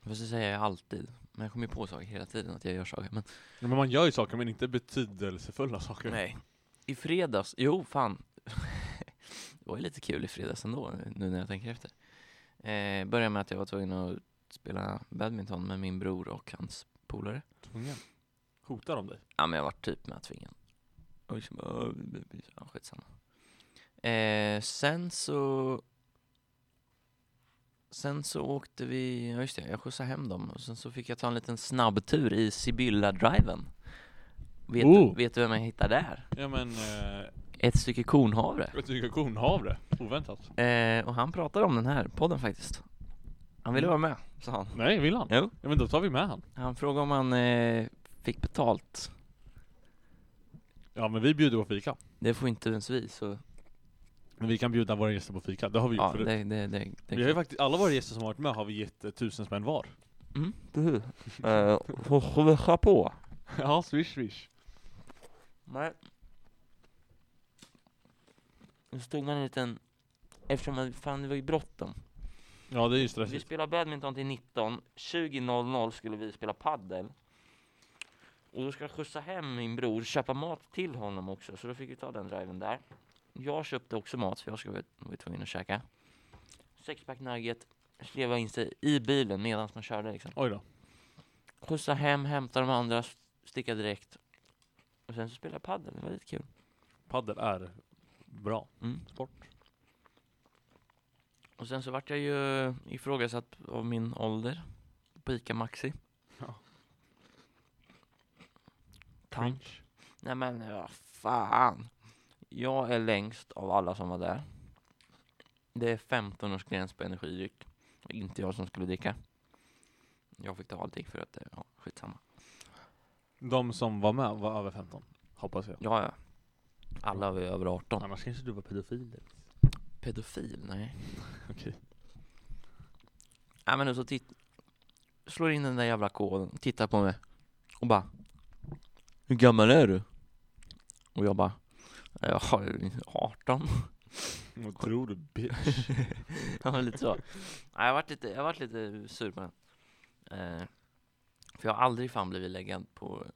Fast det säger jag alltid. Men jag kommer ju på saker hela tiden att jag gör saker. Men Ja, Men man gör ju saker, men inte betydelsefulla saker. nej. I fredags, jo fan. det var ju lite kul i fredags ändå nu när jag tänker efter. Eh, började med att jag var tvungen att spela badminton med min bror och hans polare. Tvungen. Hotar de dig? Ja men jag var typ med tvingad. Och liksom bara, "Åh, det blir så- ja, skitsamma. Eh, sen så Sen så åkte vi, ja just det, jag skjutsade hem dem och sen så fick jag ta en liten snabbtur i Sibylla-driven. Vet, Oh. du, vet du vem jag hittade där? Ja men, eh, Ett stycke kornhavre. jag tycker kornhavre. Oväntat. Eh, och han pratade om den här podden faktiskt. Han ville vara med, sa han. Nej, vill han? Jo. Ja men då tar vi med han. Han frågade om han eh, fick betalt. Ja men vi bjuder på fika. Det får inte ens vi, så Men vi kan bjuda våra gäster på fika, det har vi gjort ja, förut. det, det, det, det, Vi har ju faktiskt, alla våra gäster som har varit med har vi gett eh, tusen spänn var. Mm, precis. Eh, får swisha på. ja, swish swish. Nej. Nu stod man en liten... Eftersom man, fan, det var ju bråttom. Ja det är ju Vi stressigt. spelade badminton till 19. 20.00 skulle vi spela paddel. Och då ska jag skjutsa hem min bror, köpa mat till honom också. Så då fick vi ta den driven där. Jag köpte också mat för jag skulle vara- var tvungen att käka. Sexpack nugget. Sleva in sig i bilen medan man körde liksom. Oj då. skjutsa hem, hämta de andra, sticka direkt. Och sen så spelade jag padel, det var lite kul. Paddel är bra Mm. sport. Och sen så vart jag ju ifrågasatt av min ålder på ICA Maxi. Ja. Tant. Nej men ja, fan. Jag är längst av alla som var där. Det är 15 års gräns på energidryck. Det var Inte jag som skulle dricka. Jag fick ta allting för att, eh, ja, skitsamma. De som var med var över 15, hoppas jag. Ja, ja. Alla var ju över 18. Annars kanske du var pedofil. Pedofil? Nej. Okej. Ja men nu så titt... Slår in den där jävla koden, tittar på mig och bara Hur gammal är du? Och jag bara Jag har 18 Vad tror du bitch? Ja men lite så ja, jag, varit lite, jag varit lite sur på den eh, För jag har aldrig fan blivit läggad på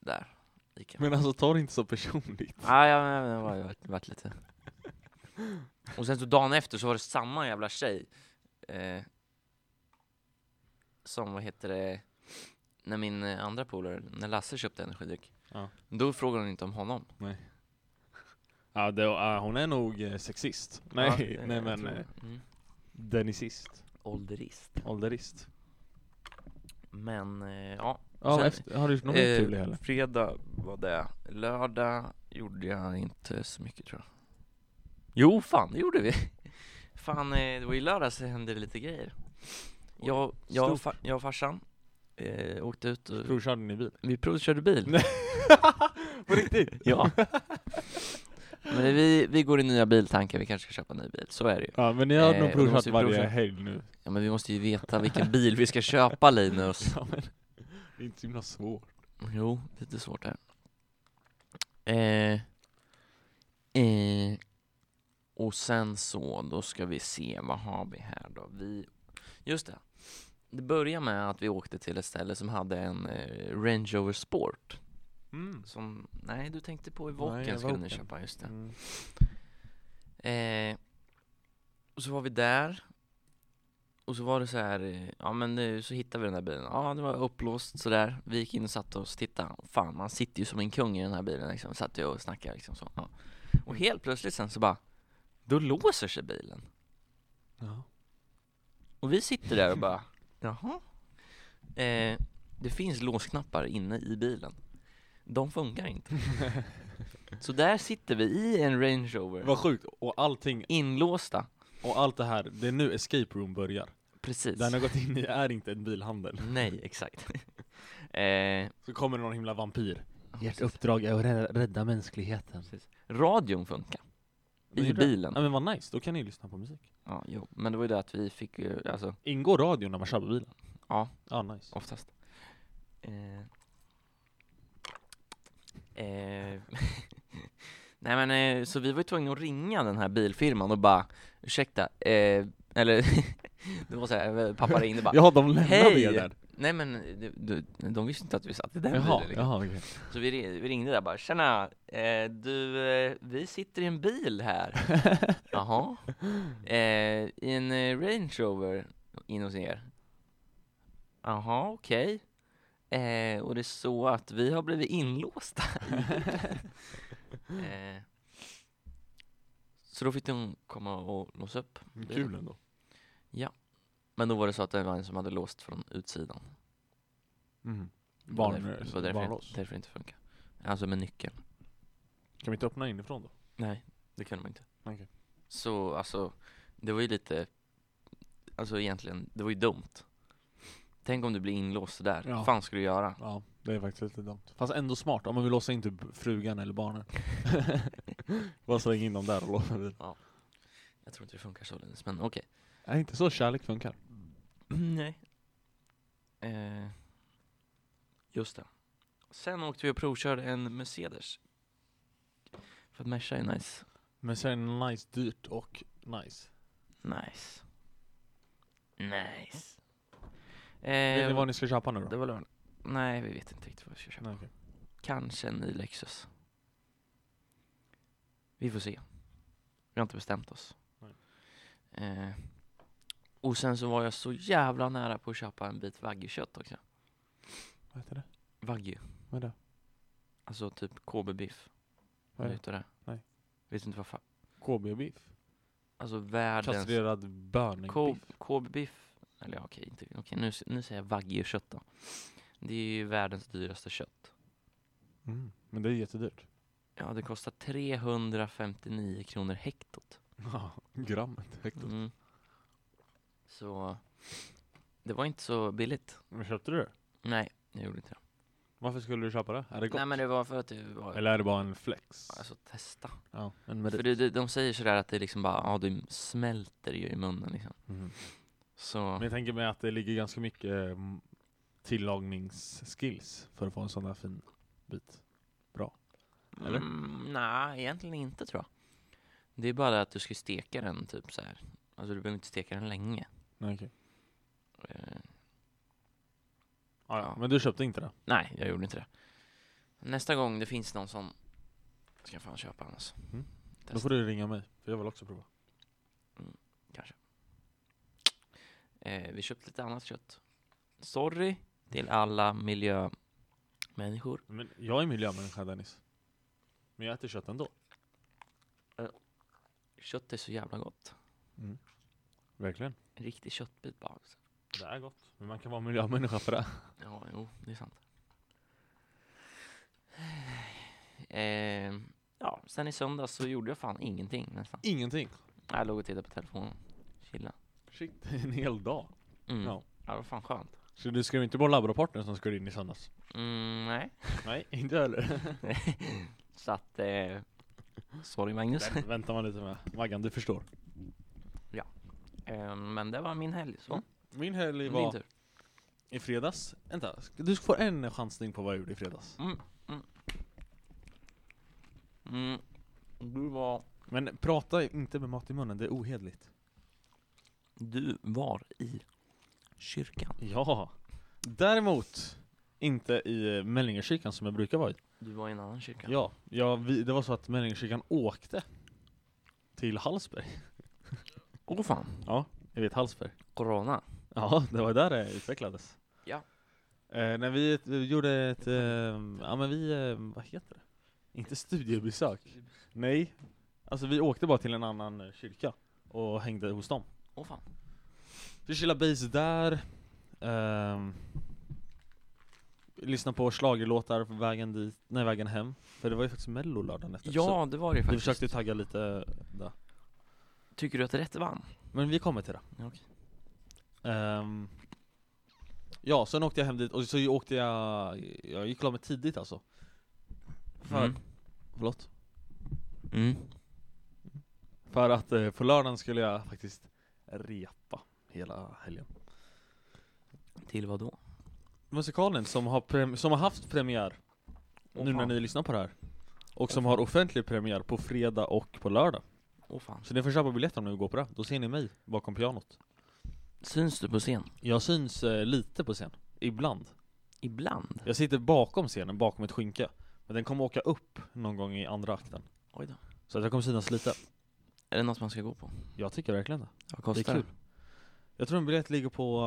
där Ica men alltså ta det inte så personligt. Ja, ja men jag har varit, varit lite Och sen så dagen efter så var det samma jävla tjej eh, Som, vad heter det När min eh, andra polare, när Lasse köpte energidryck Ja. Då frågade hon inte om honom Nej. Ja, det, ja, hon är nog eh, sexist. Nej, Ja, nej jag men tror eh, det. Mm. denisist. Ålderist. Ålderist. Men eh, ja, Ja, Sen- efter, har du gjort något mer Eh, kul i helgen? Fredag var det. Lördag gjorde jag inte så mycket tror jag. Jo, fan det gjorde vi. Fan, eh, det var ju lördag så hände det lite grejer. Jag, jag, och fa- jag och farsan eh, åkte ut och Provkörde ni bil? vi provkörde bil. Nej. På riktigt? Ja. Men vi, vi går i nya biltankar, vi kanske ska köpa en ny bil. Så är det ju. Ja, men ni har nog Eh, då måste provkört vi varje provköra. helg nu. Ja, men vi måste ju veta vilken bil vi ska köpa Linus. Ja, men, det är inte så himla svårt. Jo, lite svårt där. Eh, eh, och sen så, då ska vi se, vad har vi här då? Vi, just det. Det börjar med att vi åkte till ett ställe som hade en eh, Range Rover Sport. Mm. Som, nej du tänkte på Nej, Evoken skulle ni Evoken. köpa, just det. Mm. Eh, och så var vi där. Och så var det så här, eh, ja men nu så hittade vi den där bilen. Ja, det var upplåst sådär. Vi gick in och satte oss och tittade. Fan, man sitter ju som en kung i den här bilen liksom. Satt jag och snackade liksom så. Ja. Och helt plötsligt sen så bara, då låser sig bilen. Ja. Och vi sitter där och bara, jaha? Eh, det finns låsknappar inne i bilen. De funkar inte. så där sitter vi i en Range Rover, Vad sjukt, och allting, inlåsta. och allt det här, det är nu escape room börjar. Precis. Den har gått in i är inte en bilhandel. Nej, exakt. eh, Så kommer det någon himla vampyr. precis. uppdrag är att rädda mänskligheten. Precis. Radion funkar. I bilen. Ja men vad nice, då kan ni ju lyssna på musik. Ja, jo. Men det var ju det att vi fick ju, alltså, Ingår radion när man kör på bilen? Ja. Ja, nice. oftast. Eh. Eh. Nej men, eh, så vi var ju tvungna att ringa den här bilfirman och bara, ursäkta, eh, eller, det var såhär, pappa ringde bara, Ja, de lämnade Hej! er där. nej men, du, du, de visste inte att vi satt i den Jaha, bilen. liksom. jaha okej. Så vi, ri- vi ringde där bara, tjena, eh, du, eh, vi sitter i en bil här. Jaha. Eh, I en eh, Range Rover in hos er. Jaha, okej. Eh, och det är så att vi har blivit inlåsta. i bilen. eh, så då fick de komma och låsa upp. Kul ändå. Men då var det så att det var en som hade låst från utsidan. Mm. Det var Barn- därför, det var därför, barnlås. därför det inte funkar. Alltså med nyckeln. Kan vi inte öppna inifrån då? Nej, det kunde man inte. Okej. Så alltså, det var ju lite, alltså egentligen, det var ju dumt. Tänk om du blir inlåst där. Ja. Vad fan ska du göra? Ja, det är faktiskt lite dumt. Fast ändå smart, om man vill låsa in typ frugan eller barnen. Bara släng in dem där och låsa bilen. Jag tror inte det funkar så Linus, men okej. Nej, inte så kärlek funkar. Nej. Eh, just det. Sen åkte vi och provkörde en Mercedes. För att Merca är nice. Men sen nice, dyrt och nice. Nice. Nice. Vet ni Eh, vad ni ska köpa nu det då? var lördag. Nej, vi vet inte riktigt vad vi ska köpa. Nej, okej. Kanske en ny Lexus. Vi får se. Vi har inte bestämt oss. Nej. Eh, och sen så var jag så jävla nära på att köpa en bit wagyu-kött också. Vad heter det? Wagyu, Vad är det? alltså typ KB-biff. Vad är det? Vet du det? Nej. Vet du inte vad fan? KB-biff? Alltså världens... Kastrerad böningbiff? K- KB-biff. Eller ja, okej, inte, okej nu, s- nu säger jag wagyu-kött då. Det är ju världens dyraste kött. Mm. Men det är jättedyrt. Ja, det kostar 359 kronor hektot. Ja, grammet. Hektot. Mm. Så det var inte så billigt. Men köpte du det? Nej, jag gjorde inte det. Varför skulle du köpa det? Är det gott? Nej men det var för att det var, Eller är det bara en flex? alltså testa. ja, en För merit. det, det, de säger sådär att det liksom bara, ja du smälter ju i munnen liksom. Mm. Så, Men jag tänker mig att det ligger ganska mycket eh, tillagningsskills för att få en sån här fin bit. eller? mm, nej egentligen inte tror jag. Det är bara det att du ska steka den typ så här. Alltså du behöver inte steka den länge. Nej, okej. Eh, Ah, ja. Ja. Men du köpte inte det? nej, jag gjorde inte det. Nästa gång det finns någon som ska jag fan köpa den alltså. Mm. Då Testa. får du ringa mig, för jag vill också prova. Eh, vi köpte lite annat kött. Sorry till alla miljömänniskor. Men jag är miljömänniska Dennis. Men jag äter kött ändå. Kött är så jävla gott. Verkligen. En riktig köttbit bara också. Det är gott. Men man kan vara miljömänniska för det. Ja, jo, det är sant. Ehm, ja, sen i söndags så gjorde jag fan ingenting nästan. Ingenting. Jag låg och tittade på telefonen. Chilla. Shit, en hel dag. Mm. Ja. Ja. det var fan skönt. Så du skrev inte bara labbrapporten som skulle in i söndags? Mm, nej. Nej, inte heller. så att, eh, sorry Magnus. Den väntar man lite med. Maggan, du förstår. Ehm, men det var min helg. Så. Min helg Din var tur. i fredags. Vänta, ska- du får en chansning på vad jag gjorde i fredags. Mm, mm. Mm. Du var... Men prata inte med mat i munnen, det är ohederligt. Du var i kyrkan. Ja. Däremot inte i eh, Mellingerkyrkan som jag brukar vara i. Du var i en annan kyrka. Ja, ja vi, det var så att Mellingerkyrkan åkte till Hallsberg. Åh fan. Jag vet Hallsberg. Corona. Ja, det var där det utvecklades. Ja. Eh, när vi, vi gjorde ett, eh, ja men vi, eh, vad heter det? Inte studiebesök. Nej. Alltså vi åkte bara till en annan eh, kyrka och hängde hos dem. Åh fan. Vi chillade base där. ehm, lyssnade på schlagerlåtar på vägen dit, nej vägen hem. För det var ju faktiskt mello lördagen efter. så Ja, det var det ju vi faktiskt. försökte tagga lite där. Tycker du att det är rätt vann? Mm. Men vi kommer till det. Ja, okej. Ehm, ja, sen åkte jag hem dit och så åkte jag, jag gick klar med tidigt alltså. För, Mm. förlåt? Mm. För att eh, på lördagen skulle jag faktiskt repa hela helgen. Till vad då? Musikalen som har, prem- som har haft premiär, Åh, nu när fan. ni lyssnar på det här. Och som har offentlig premiär på fredag och på lördag. Åh fan. Så ni får köpa biljetter om ni vill gå på det. Då ser ni mig bakom pianot. Syns du på scen? Jag syns eh, lite på scen, ibland. Ibland? Jag sitter bakom scenen, bakom ett skynke. Men den kommer åka upp någon gång i andra akten. Oj då. Så att jag kommer synas lite. Är det något man ska gå på? Jag tycker verkligen det. Vad Det är kostar kul. Jag tror en biljett ligger på,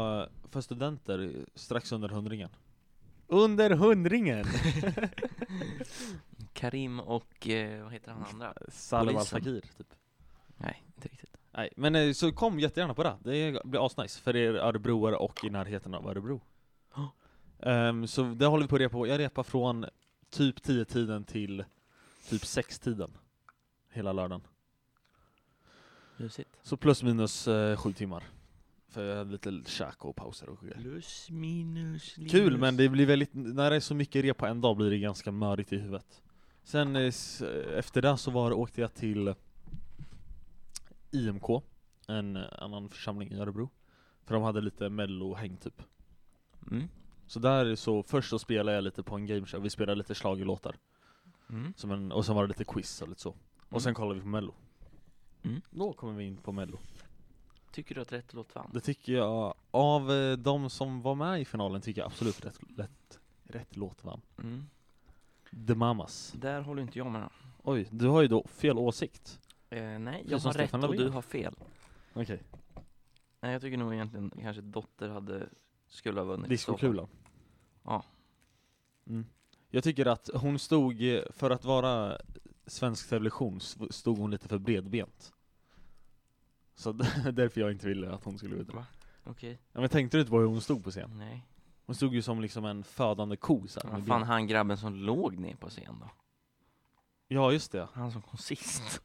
eh, för studenter, eh, strax under hundringen. Under hundringen! Karim och, eh, vad heter han andra? Salwa Polisen. Fakir, typ. Nej, inte riktigt. Nej, men eh, så kom jättegärna på det. Det blir asnice för er örebroare och i närheten av Örebro. Ja. Ehm, så det håller vi på att repa. Jag repar från typ 10-tiden till typ 6-tiden. Hela lördagen. Lusigt. Så plus minus eh, sju timmar. För jag hade lite käk och pauser och grejer. Plus minus linus. Kul men det blir väldigt, när det är så mycket rep på en dag blir det ganska mörigt i huvudet. Sen eh, s- efter det så var, åkte jag till IMK, en eh, annan församling i Örebro. För de hade lite mellohäng typ. Mm. Så där så, först så spelade jag lite på en gameshow, vi spelade lite schlagerlåtar. Mm. Som en, och sen var det lite quiz och lite så. Och sen kollade vi på mello. Mm. Då kommer vi in på mello. Tycker du att rätt låt vann? Det tycker jag, av eh, de som var med i finalen tycker jag absolut rätt, rätt, rätt låt vann. Mm. The Mamas. Där håller inte jag med då. Oj, du har ju då fel åsikt. eh, Nej, jag Precis som har rätt Stefan och Löfven. du har fel. Okej. Nej, jag tycker nog egentligen kanske Dotter hade, skulle ha vunnit. Discokulan. Ja. Mm. Jag tycker att hon stod, eh, för att vara svensk television, sv- stod hon lite för bredbent. Så d- därför jag inte ville att hon skulle vinna. Va? Okej. Ja, men tänkte du inte på hur hon stod på scen? Nej. Hon stod ju som liksom en födande ko så här, med Vad fan ben. han grabben som låg ner på scen då? Ja just det. Han som kom sist.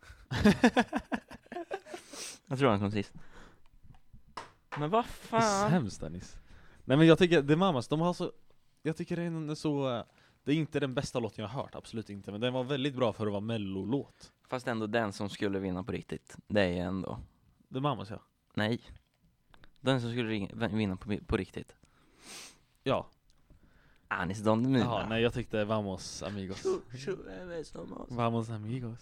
jag tror han kom sist. Men vad Det är så fan? hemskt Dennis. Nej men jag tycker, The Mamas, de har så, jag tycker det är en så, eh, det är inte den bästa låten jag har hört, absolut inte, men den var väldigt bra för att vara mellolåt. Fast ändå den som skulle vinna på riktigt. Det är ju ändå. The Mamas ja. Nej. Den som skulle ringa, vin- vinna på, på riktigt. Ja, Anis Don Demina. Jaha, nej jag tyckte Vamos Amigos. Vamos Amigos.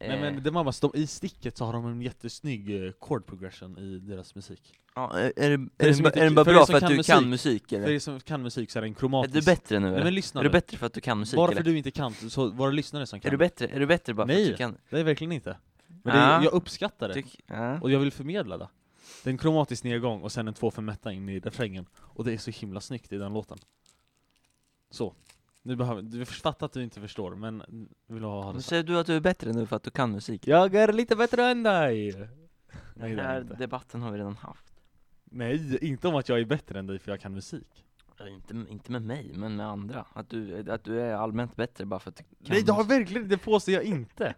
Nej Eh. men The Mamas, de, i sticket så har de en jättesnygg eh, chord progression i deras musik. Ja, är, är, det, det är, som det, inte- är den bara för bra det som för att kan du kan musik För eller? er som kan musik så är den Är du kromatisk. bättre nu Nej men eller? lyssna Är du nu. bättre för att du kan musik Bara för eller? du inte kan, så var det lyssnare som kan. Är du bättre? Är du bättre bara för att Nej. du kan? Det är verkligen inte. Men det är, Ah. jag uppskattar det. Tyck, ja. Och jag vill förmedla det. Det är en kromatisk nedgång och sen en två för mätta in i refrängen. Och det är så himla snyggt i den låten. Så. Nu behöver, du fattar att du inte förstår, men vill du ha Men det så? säger du att du är bättre nu för att du kan musik? Jag är lite bättre än dig! Nej, Den det är här jag inte. debatten har vi redan haft. Nej, inte om att jag är bättre än dig för jag kan musik. Eller Inte, inte med mig, men med andra. Att du, att du är allmänt bättre bara för att du kan Nej, det har musik. verkligen det påstår jag inte!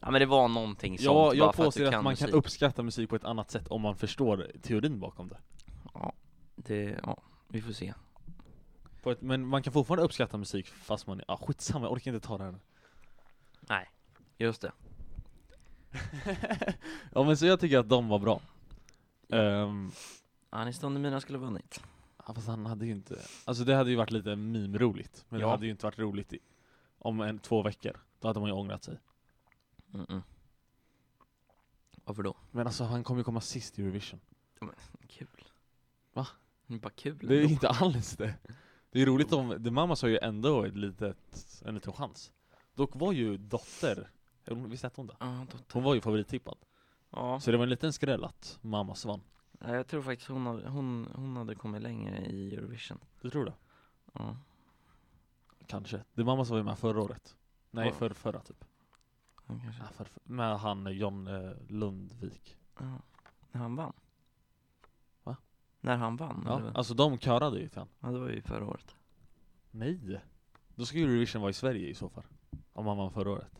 Ja men det var någonting sånt Jag, bara jag för att påstår du att, kan man musik. kan uppskatta musik på ett annat sätt om man förstår teorin bakom det. Det, ja, vi får se. På ett, men man kan fortfarande uppskatta musik fast man, ah, skitsamma, jag orkar inte ta det här nu. Nej. Just det. ja men så jag tycker att de var bra. Ehm, Anis Don Demina skulle ha vunnit. ja, fast han hade ju inte, alltså det hade ju varit lite meme-roligt. Men Ja. det hade ju inte varit roligt i, om en, två veckor. Då hade man ju ångrat sig. Mm-mm. Varför då? Men alltså han kommer ju komma sist i Eurovision. Kul. Va? Det är bara kul Det är ju ändå. inte alls det. Det är roligt om, The Mamas har ju ändå ett litet, en liten chans. Dock var ju Dotter, hon- visst hette hon det? Ja, dotter. Hon var ju favorittippad. Ja, Så det var en liten skräll att Mamas vann. Nej, jag tror faktiskt hon, hade- hon, hon hade kommit längre i Eurovision. Du tror det? Ja. Kanske. The Mamas var ju med förra året. Nej, Ja. förr, förra typ. hon kanske. Ja, förr- förr. med han eh, John eh, Lundvik. Ja. När han vann. Va? När han vann. Ja, eller vad? alltså de körade ju till han. ja, det var ju förra året. Nej! Då skulle Eurovision vara i Sverige i så fall. Om han vann förra året.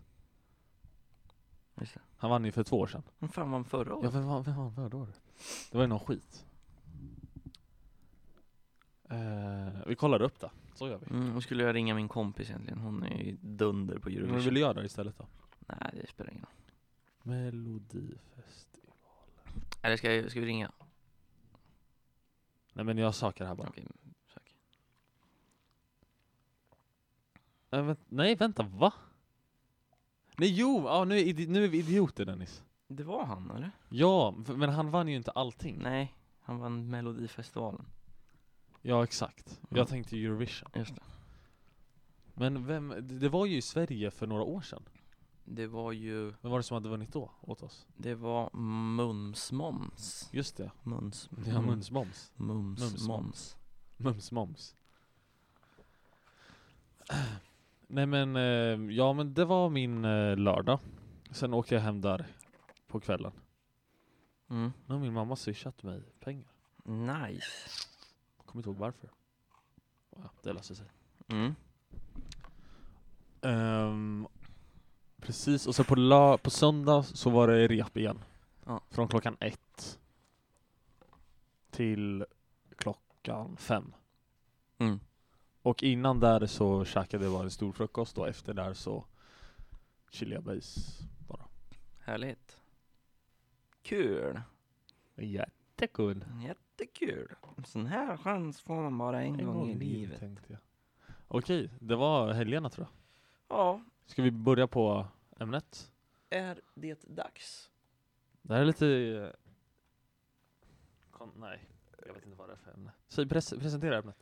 Just det. Han vann ju för två år sedan. Men fan vann förra året? Ja, vem vann, vem vann förra året? Det var ju någon skit. Eh, vi kollar upp det, så gör vi. Mm, och skulle jag ringa min kompis egentligen, hon är ju dunder på Men Eurovision. vill du göra det istället då? Nej, det spelar ingen roll. Melodifest. Eller ska, jag, ska vi ringa? Nej men jag söker här bara. Okej, sök. Nej, Eh, vänt, nej vänta, va? Nej jo, ja, nu, är idi- nu är vi idioter Dennis. Det var han, eller? Ja, f- men han vann ju inte allting. Nej, han vann Melodifestivalen. Ja exakt. Mm. Jag tänkte Eurovision. Just det. Men vem, det- det var ju i Sverige för några år sedan. Det var ju, Vem var det som hade vunnit då åt oss? det var Mums Moms. Just det, Mums. ja Mums-Moms. Mums, Mums Moms. Mums moms. Nej men, eh, ja men det var min eh, lördag. Sen åkte jag hem där på kvällen. Mm. Nu har min mamma swishat mig pengar. Nice. Kommer inte ihåg varför. Ja, det löser sig. Mm. Ehm, precis, och så på, lö- på söndag så var det rep igen. Ja. Från klockan ett till klockan fem. Mm. Och innan där så käkade jag bara en stor frukost och efter där så chillade jag base bara. Härligt. Kul. Jättekul! Jättekul. En sån här chans får man bara en, gång, i livet. tänkte jag. Okej, det var helgerna tror jag. Ja, Ska vi börja på ämnet? är det dags? Det här är lite... eh, Kon- nej, jag vet inte vad det är för ämne. Säg, pres- presentera ämnet.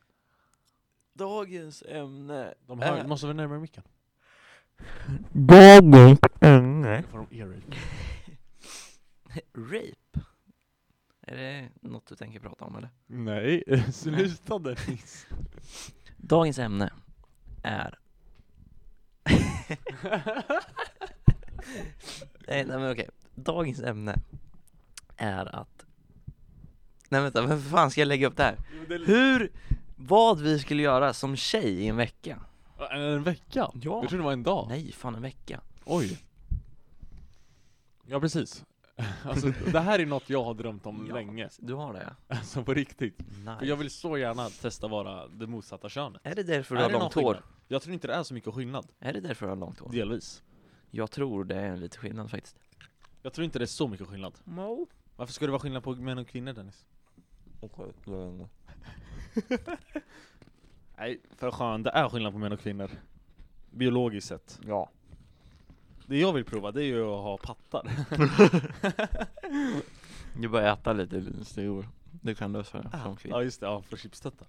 Dagens ämne De hör, är- Måste vi närmare micken? Dagens ämne. Nu får de earache. Rape. Är det något du tänker prata om eller? Nej, sluta Dennis! Dagens ämne är... nej, nej men okej. Dagens ämne är att... Nej vänta, varför fan ska jag lägga upp det här? Hur... Vad vi skulle göra som tjej i en vecka? Äh, en vecka? Ja. Jag trodde det var en dag. Nej, fan en vecka. Oj. Ja precis. Alltså, det här är något jag har drömt om Ja. länge. Du har det ja. Alltså på riktigt. För Nice. jag vill så gärna testa vara det motsatta könet. Är det därför du Är har det någon långt hår? skillnad? Jag tror inte det är så mycket skillnad. Är det därför du har långt hår? Delvis. Jag tror det är lite skillnad faktiskt. Jag tror inte det är så mycket skillnad. No. Varför ska det vara skillnad på män och kvinnor Dennis? Nej, för skön. Det är skillnad på män och kvinnor. Biologiskt sett. Ja. Det jag vill prova det är ju att ha pattar. Du börjar äta lite stugor. Det kan du säga som kvinna. Ja just det, ja, för chipstöttar.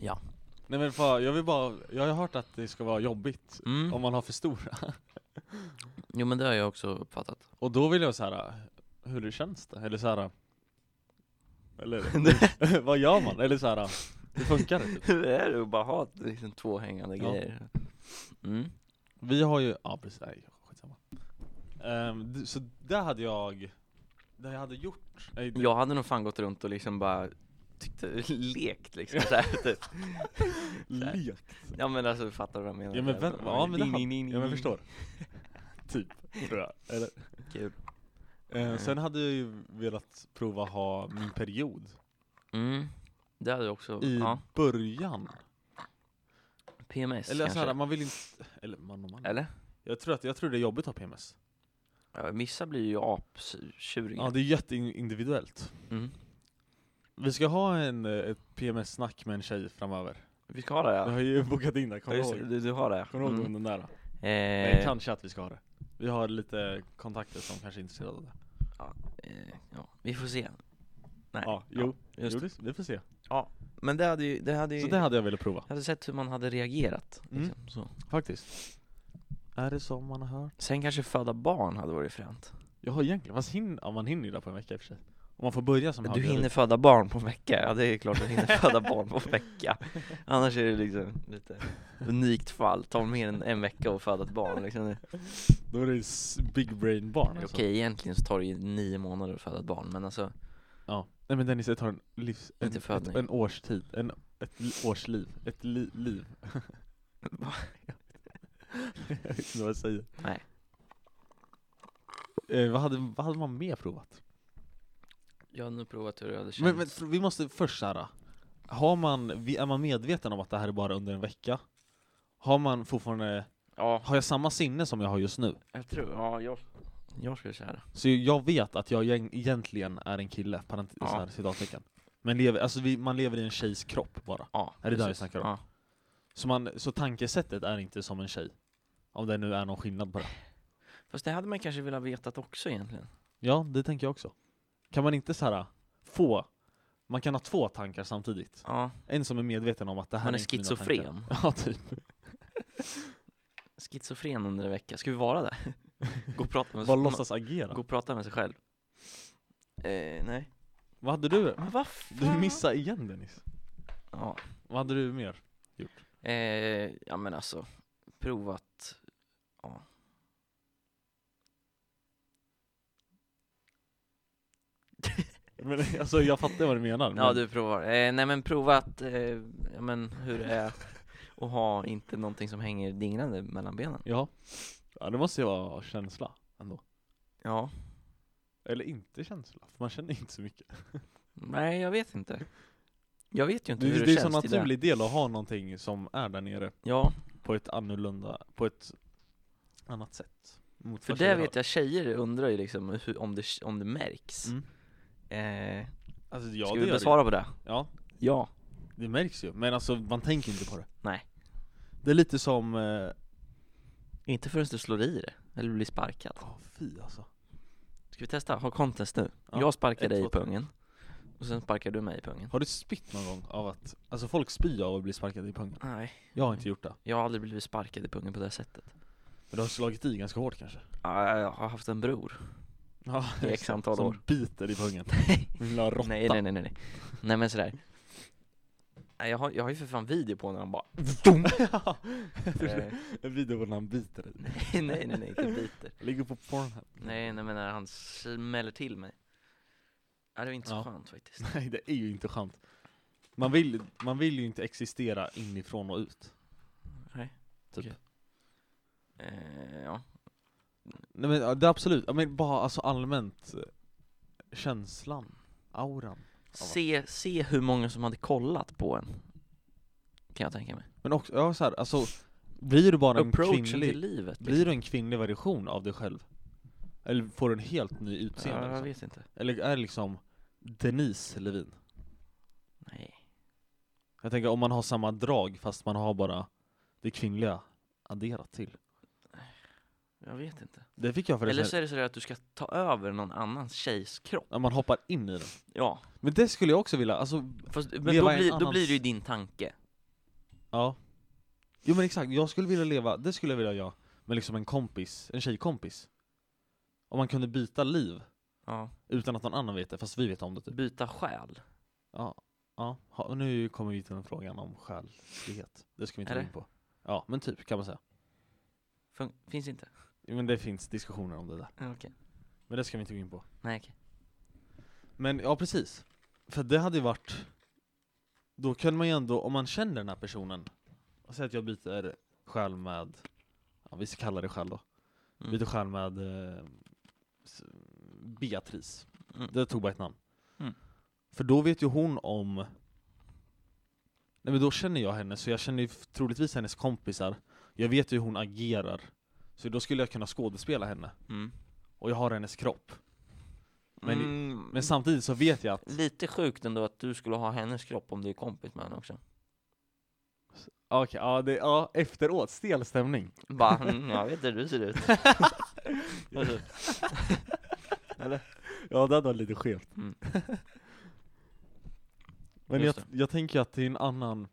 Ja. Nej men fan, jag vill bara, jag har hört att det ska vara jobbigt Mm. om man har för stora. Jo men det har jag också uppfattat. Och då vill jag så här, hur det känns det? Eller så här. Eller vad gör man? Eller så här, Det funkar inte. det är det att bara ha liksom två hängande Ja. grejer mm. Vi har ju, ja precis, nej skitsamma. Ehm, d- så där hade jag, det jag hade gjort, nej, det, Jag hade nog fan gått runt och liksom bara tyckte, lekt liksom så här, typ. lek. Ja men alltså fattar du vad jag menar? Ja men vem, ja men det hade, ja men jag förstår. Typ, tror jag. Eller? Kul. Eh, sen hade jag ju velat prova ha min period Mm. Det hade jag också, i ja, början. PMS Eller kanske? såhär, man vill inte, eller man och man. Eller? Jag tror, att, jag tror det är jobbigt att ha PMS. Ja, vissa blir ju aptjuringar Ja det är jätteindividuellt. mm. Vi ska ha en, eh, ett PMS-snack med en tjej framöver. Vi ska ha det Jag ja, har ju bokat in det, ja kommer just, du det, ihåg? du, du har det Kommer du ihåg Mm. om den där då? Eh, Nej, kanske att vi ska ha det. Vi har lite kontakter som kanske är intresserade av det. eh, ja. Vi får se Nej, Ja, jo, just jo det. det, vi får se. Men det hade ju, det hade ju Så det hade jag velat prova, Jag hade sett hur man hade reagerat Mm. liksom, så. faktiskt. Är det som man har hört? Sen kanske föda barn hade varit fränt Jag har egentligen, fast hin- ja, man hinner ju det på en vecka i och för sig. Om man får börja som Du halvgravid. hinner föda barn på en vecka? Ja det är klart att du hinner föda barn på en vecka Annars är det liksom lite unikt fall, tar mer än en vecka och föda ett barn liksom. Då är det s- big brain barn Okej alltså. egentligen så tar det ju nio månader att föda ett barn men alltså Ja. Nej men Dennis, det tar en livs... En, Inte födning. ett, en årstid, en, ett li- årsliv, ett li, liv. Va? jag vet inte vad jag säger. Nej. Eh, vad, hade, vad hade man mer provat? Jag har nu provat hur det hade Men, men vi måste först såhär, har man, vi- är man medveten om att det här är bara under en vecka? Har man fortfarande, Ja, har jag samma sinne som jag har just nu? jag tror, ja jag Jag skulle säga det Så jag vet att jag gäng- egentligen är en kille, parent- Ja. så här, citattecken. Men lever, alltså vi, man lever i en tjejs kropp bara. Ja, Är det där vi precis. snackar om? Ja. Så, man, så tankesättet är inte som en tjej. Om det nu är någon skillnad på det. Fast det hade man kanske velat vetat också egentligen Ja, det tänker jag också. Kan man inte så här få, man kan ha två tankar samtidigt. Ja, En som är medveten om att det här man är inte mina tankar. schizofren Ja, typ. Schizofren under en vecka, ska vi vara det? Gå och prata med Bara låtsas agera. Gå och prata med sig själv. Eh, nej. Vad hade du? Men vad fan? Du missade igen Dennis. Ja. Vad hade du mer? Eh, ja men alltså, provat. Ja. Men, alltså jag fattar vad du menar. Ja men- du provar. Eh, nej men provat, eh, ja men hur det är att ha inte någonting som hänger dinglande mellan benen. Ja. ja, det måste ju vara känsla ändå. Ja. Eller inte känsla, för man känner inte så mycket. Nej jag vet inte. Jag vet ju inte Det, hur det, det, är en känns. sån till det. naturlig del att ha någonting som är där nere Ja, på ett annorlunda, på ett annat sätt. Mot för vad det tjejer vet har. jag, tjejer undrar ju liksom hur, om, det, om det märks. Mm. Eh, Alltså ja, ska det vi gör besvara på det? det. Ja, Ja. det märks ju. Men alltså man tänker inte på det. Nej. Det är lite som, eh, Inte förrän du slår i det, eller blir sparkad. åh, fy alltså. Ska vi testa? Ha contest nu. Ja, jag sparkar ett, dig i två, tre. pungen. Och sen sparkar du mig i pungen. Har du spytt någon gång av att, alltså folk spyr av att bli sparkade i pungen? Nej, Jag har inte gjort det. jag har aldrig blivit sparkad i pungen på det sättet. Men du har slagit i ganska hårt kanske? Ja, Jag har haft en bror Ja, i x antal som år. biter i pungen. Min lilla råtta. Nej, nej, nej, nej. Nej, nej men sådär. Nej, jag, har, jag har ju för fan video på när han bara Ja, eh, en video på när han biter dig. Nej, nej, nej, inte biter. Ligger på Pornhub. Nej, nej men när han smäller till mig. Ja, det var inte så Ja. skönt faktiskt. Nej, det är ju inte skönt. Man vill, man vill ju inte existera inifrån och ut. Nej. Typ. Okej. Eh, ja. Nej men ja, det är absolut, Ja, men bara alltså allmänt eh, känslan, auran. Se, se hur många som hade kollat på en. Kan jag tänka mig. Men också, ja, så här, alltså blir du bara en Approachen kvinnlig, till livet. liksom. blir du en kvinnlig version av dig själv? Eller får du en helt ny Ja, utseende? jag liksom? vet inte. Eller är det liksom Denise Levin? Nej. Jag tänker om man har samma drag fast man har bara det kvinnliga adderat till. Jag vet inte. Det fick jag Eller förresten, så är det sådär att du ska ta över någon annans tjejs kropp. när man hoppar in i den. Ja. Men det skulle jag också vilja, alltså Fast, men Leva i då, en blir, då annans- blir det ju din tanke. Ja Jo men exakt, jag skulle vilja leva, det skulle jag vilja göra Med liksom en kompis, en tjejkompis Om man kunde byta liv Ja. utan att någon annan vet det, fast vi vet om det typ Byta själ. Ja, Ja, ha, och nu kommer vi till den frågan om själslighet. Det ska vi inte Är gå det? in på. Ja, men typ kan man säga. Fun- finns inte? Men det finns diskussioner om det där. Ja, Okej. Men det ska vi inte gå in på. Nej okej. Men ja, precis. För det hade ju varit... Då kunde man ju ändå, om man känner den här personen, och säger att jag byter själ med, ja vi ska kalla det själ då, Mm. byter själ med eh, s- Beatrice. Mm. Det tog bara ett namn. Mm. För då vet ju hon om... Nej men då känner jag henne, så jag känner ju f- troligtvis hennes kompisar. Jag vet ju hur hon agerar. Så då skulle jag kunna skådespela henne. Mm. Och jag har hennes kropp. Men- Mm. Men samtidigt så vet jag att Lite sjukt ändå att du skulle ha hennes kropp om du är kompis med henne också. ah, Okej, ja, det, ja efteråt, stel stämning. Bara, mm, jag vet hur du ser ut. Alltså, Eller? Ja, det hade varit lite skevt. Mm. Men jag, Just jag tänker att det är en annan...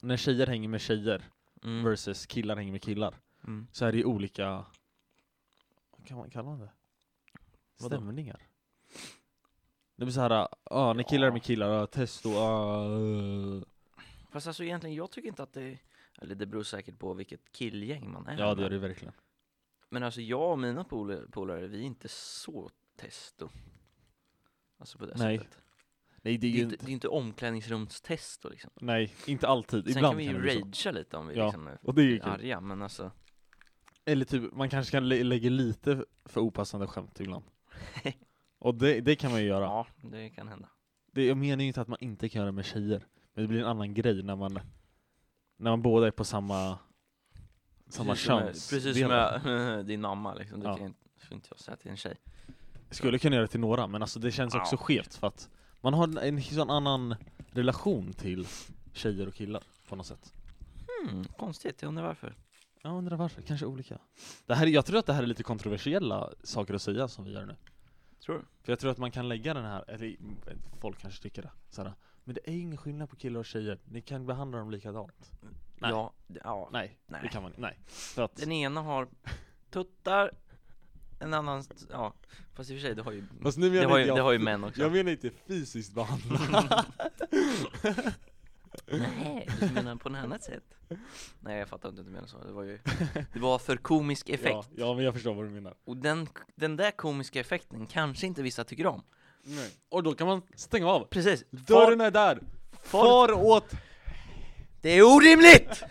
När tjejer hänger med tjejer Mm. versus killar hänger med killar, Mm. så är det ju olika... Vad kan man kalla det? Vadå? Stämningar. Det blir såhär, ja, när killar är Ja. med killar, ja, testo, ja, eh. Fast alltså egentligen, jag tycker inte att det Eller det beror säkert på vilket killgäng man är Ja, det med. gör det verkligen. Men alltså jag och mina pol- polare, vi är inte så testo. Alltså på det Nej, sättet. Nej, det Det är är ju ju inte, inte... det är inte omklädningsrumstesto liksom. Nej, inte alltid. Sen Ibland kan vi ju det bli så. ragea lite om vi Ja, liksom är Och det är ju kul. arga, men alltså. Eller typ, man kanske kan lä- lägga lite för opassande skämt ibland. Och det, det kan man ju göra. Ja, det kan hända. Det, jag menar ju inte att man inte kan göra det med tjejer. Men det blir en annan grej när man, när man båda är på samma, samma precis som, köns. precis som jag, din mamma liksom, det Ja. kan ju inte, får inte jag säga till en tjej. Skulle kunna göra det till några, men alltså det känns också Ja. skevt för att man har en, en sån annan relation till tjejer och killar på något sätt. Hmm, konstigt, jag undrar varför. Jag undrar varför, kanske olika. Det här, är- jag tror att det här är lite kontroversiella saker att säga som vi gör nu. Tror du? För jag tror att man kan lägga den här, eller mm, folk kanske tycker det, såhär, men det är ingen skillnad på killar och tjejer, ni kan behandla dem likadant. Nej. Ja, det, ja. Nej, Nej. det kan man nej. För att, Den ena har tuttar, en annan, ja. Fast i och för sig, det har ju, fast nu det menar har ju, inte det har ju jag, män också. jag menar inte fysiskt behandla. Nej, du menar på något annat sätt? Nej, jag fattar inte att du menar så. Det var ju, det var för komisk effekt. ja, ja, men jag förstår vad du menar. Och den, den där komiska effekten kanske inte vissa tycker om. Och då kan man stänga av. Precis. Dörren är där! Far åt... Det är orimligt!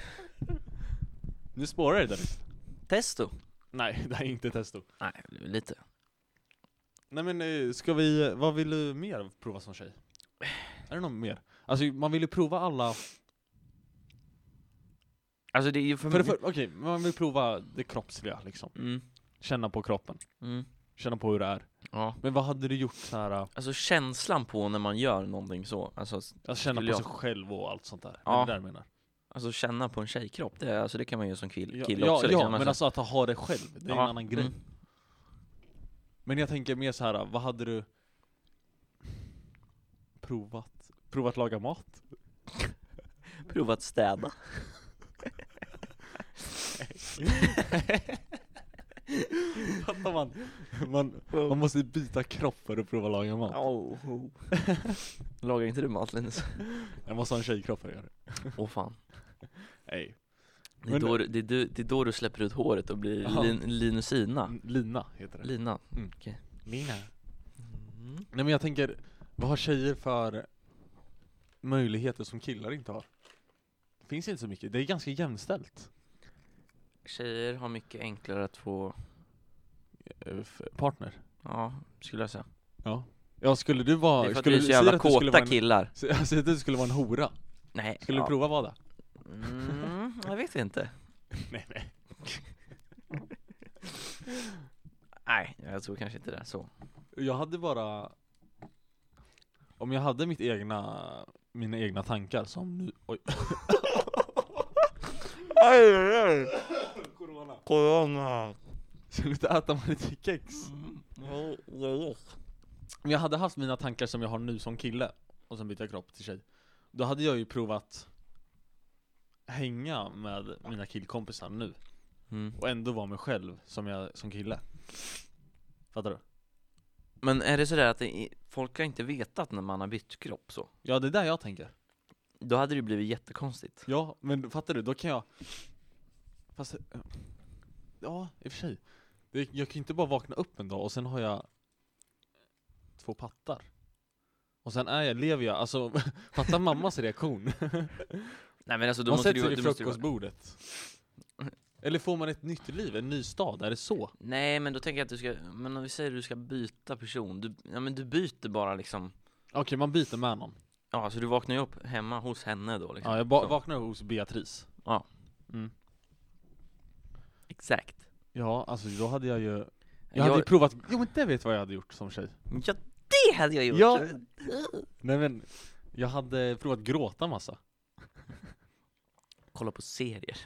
Nu spårar det där. Testo. Nej, det här är inte testo. Nej, lite. Nej men eh, ska vi, vad vill du mer prova som tjej? Är det något mer? Alltså man vill ju prova alla Alltså det är ju för, För det för, okej, man vill prova det kroppsliga liksom. Mm, Känna på kroppen, mm. känna på hur det är. Ja. Men vad hade du gjort så här? äh, Alltså känslan på när man gör någonting så, alltså, att känna Skulle på sig jag- själv och allt sånt där? Ja. Det är det där jag menar. alltså känna på en tjejkropp, det, är, alltså, det kan man ju som kill, Ja, kille ja, också ja liksom. men alltså att ha det själv, det är Ja, en annan grej. mm. Men jag tänker mer så här, äh, vad hade du provat? Provat laga mat? Prova att städa. Fattar man, man, man måste byta kropp för att prova laga mat. Oh, oh. Lagar inte du mat Linus? Jag måste ha en tjejkropp för att göra det. Åh fan. Nej. Det är, Men- då, du- det, är du, det är då du släpper ut håret och blir Ja. lin, Linusina. Lina heter det. Lina. Mm. Okej. Lina. Mm. Nej men jag tänker, vad har tjejer för möjligheter som killar inte har? Det finns inte så mycket, det är ganska jämställt. Tjejer har mycket enklare att få, eh, f- Partner. ja, skulle jag säga. Ja. Ja, skulle du vara... det är för att skulle vi är så säg jävla att du skulle kåta vara en- killar. sä- ja, Säg att du skulle vara en hora, Nej. skulle ja. du prova vara det? Mm, jag vet inte. Nej nej. Nej, jag tror kanske inte det. Så. Jag hade bara... Om jag hade mitt egna, mina egna tankar som nu... Oj. Aj, aj, aj. Corona. Corona. Sluta äta Mariekex. Om jag hade haft mina tankar som jag har nu som kille och sen bytte jag kropp till tjej Då hade jag ju provat hänga med mina killkompisar nu Mm. och ändå vara mig själv som jag som kille Fattar du? Men är det sådär att det är, folk har inte vetat när man har bytt kropp så? Ja, det är där jag tänker. Då hade det ju blivit jättekonstigt Ja, men fattar du? Då kan jag... Fast... eh, Ja, i och för sig. Det- Jag kan ju inte bara vakna upp en dag och sen har jag två pattar. Och sen är jag, lever jag, alltså fatta mammas reaktion. Nej men alltså då man måste sätter du, sig ju- vid du måste ju vara- frukostbordet. Eller får man ett nytt liv, en ny stad? Är det så? Nej men då tänker jag att du ska, men om vi säger att du ska byta person, du, ja men du byter bara liksom Okej, man byter med någon. Ja så du vaknar ju upp hemma hos henne då liksom Ja, jag ba- Så. vaknar hos Beatrice. Ja. Mm. Exakt Ja, alltså då hade jag ju... Jag Jag, hade ju provat... Jo men det vet vad jag hade gjort som tjej. Ja det hade jag gjort! Ja. Nej men, jag hade provat gråta massa. Kolla på serier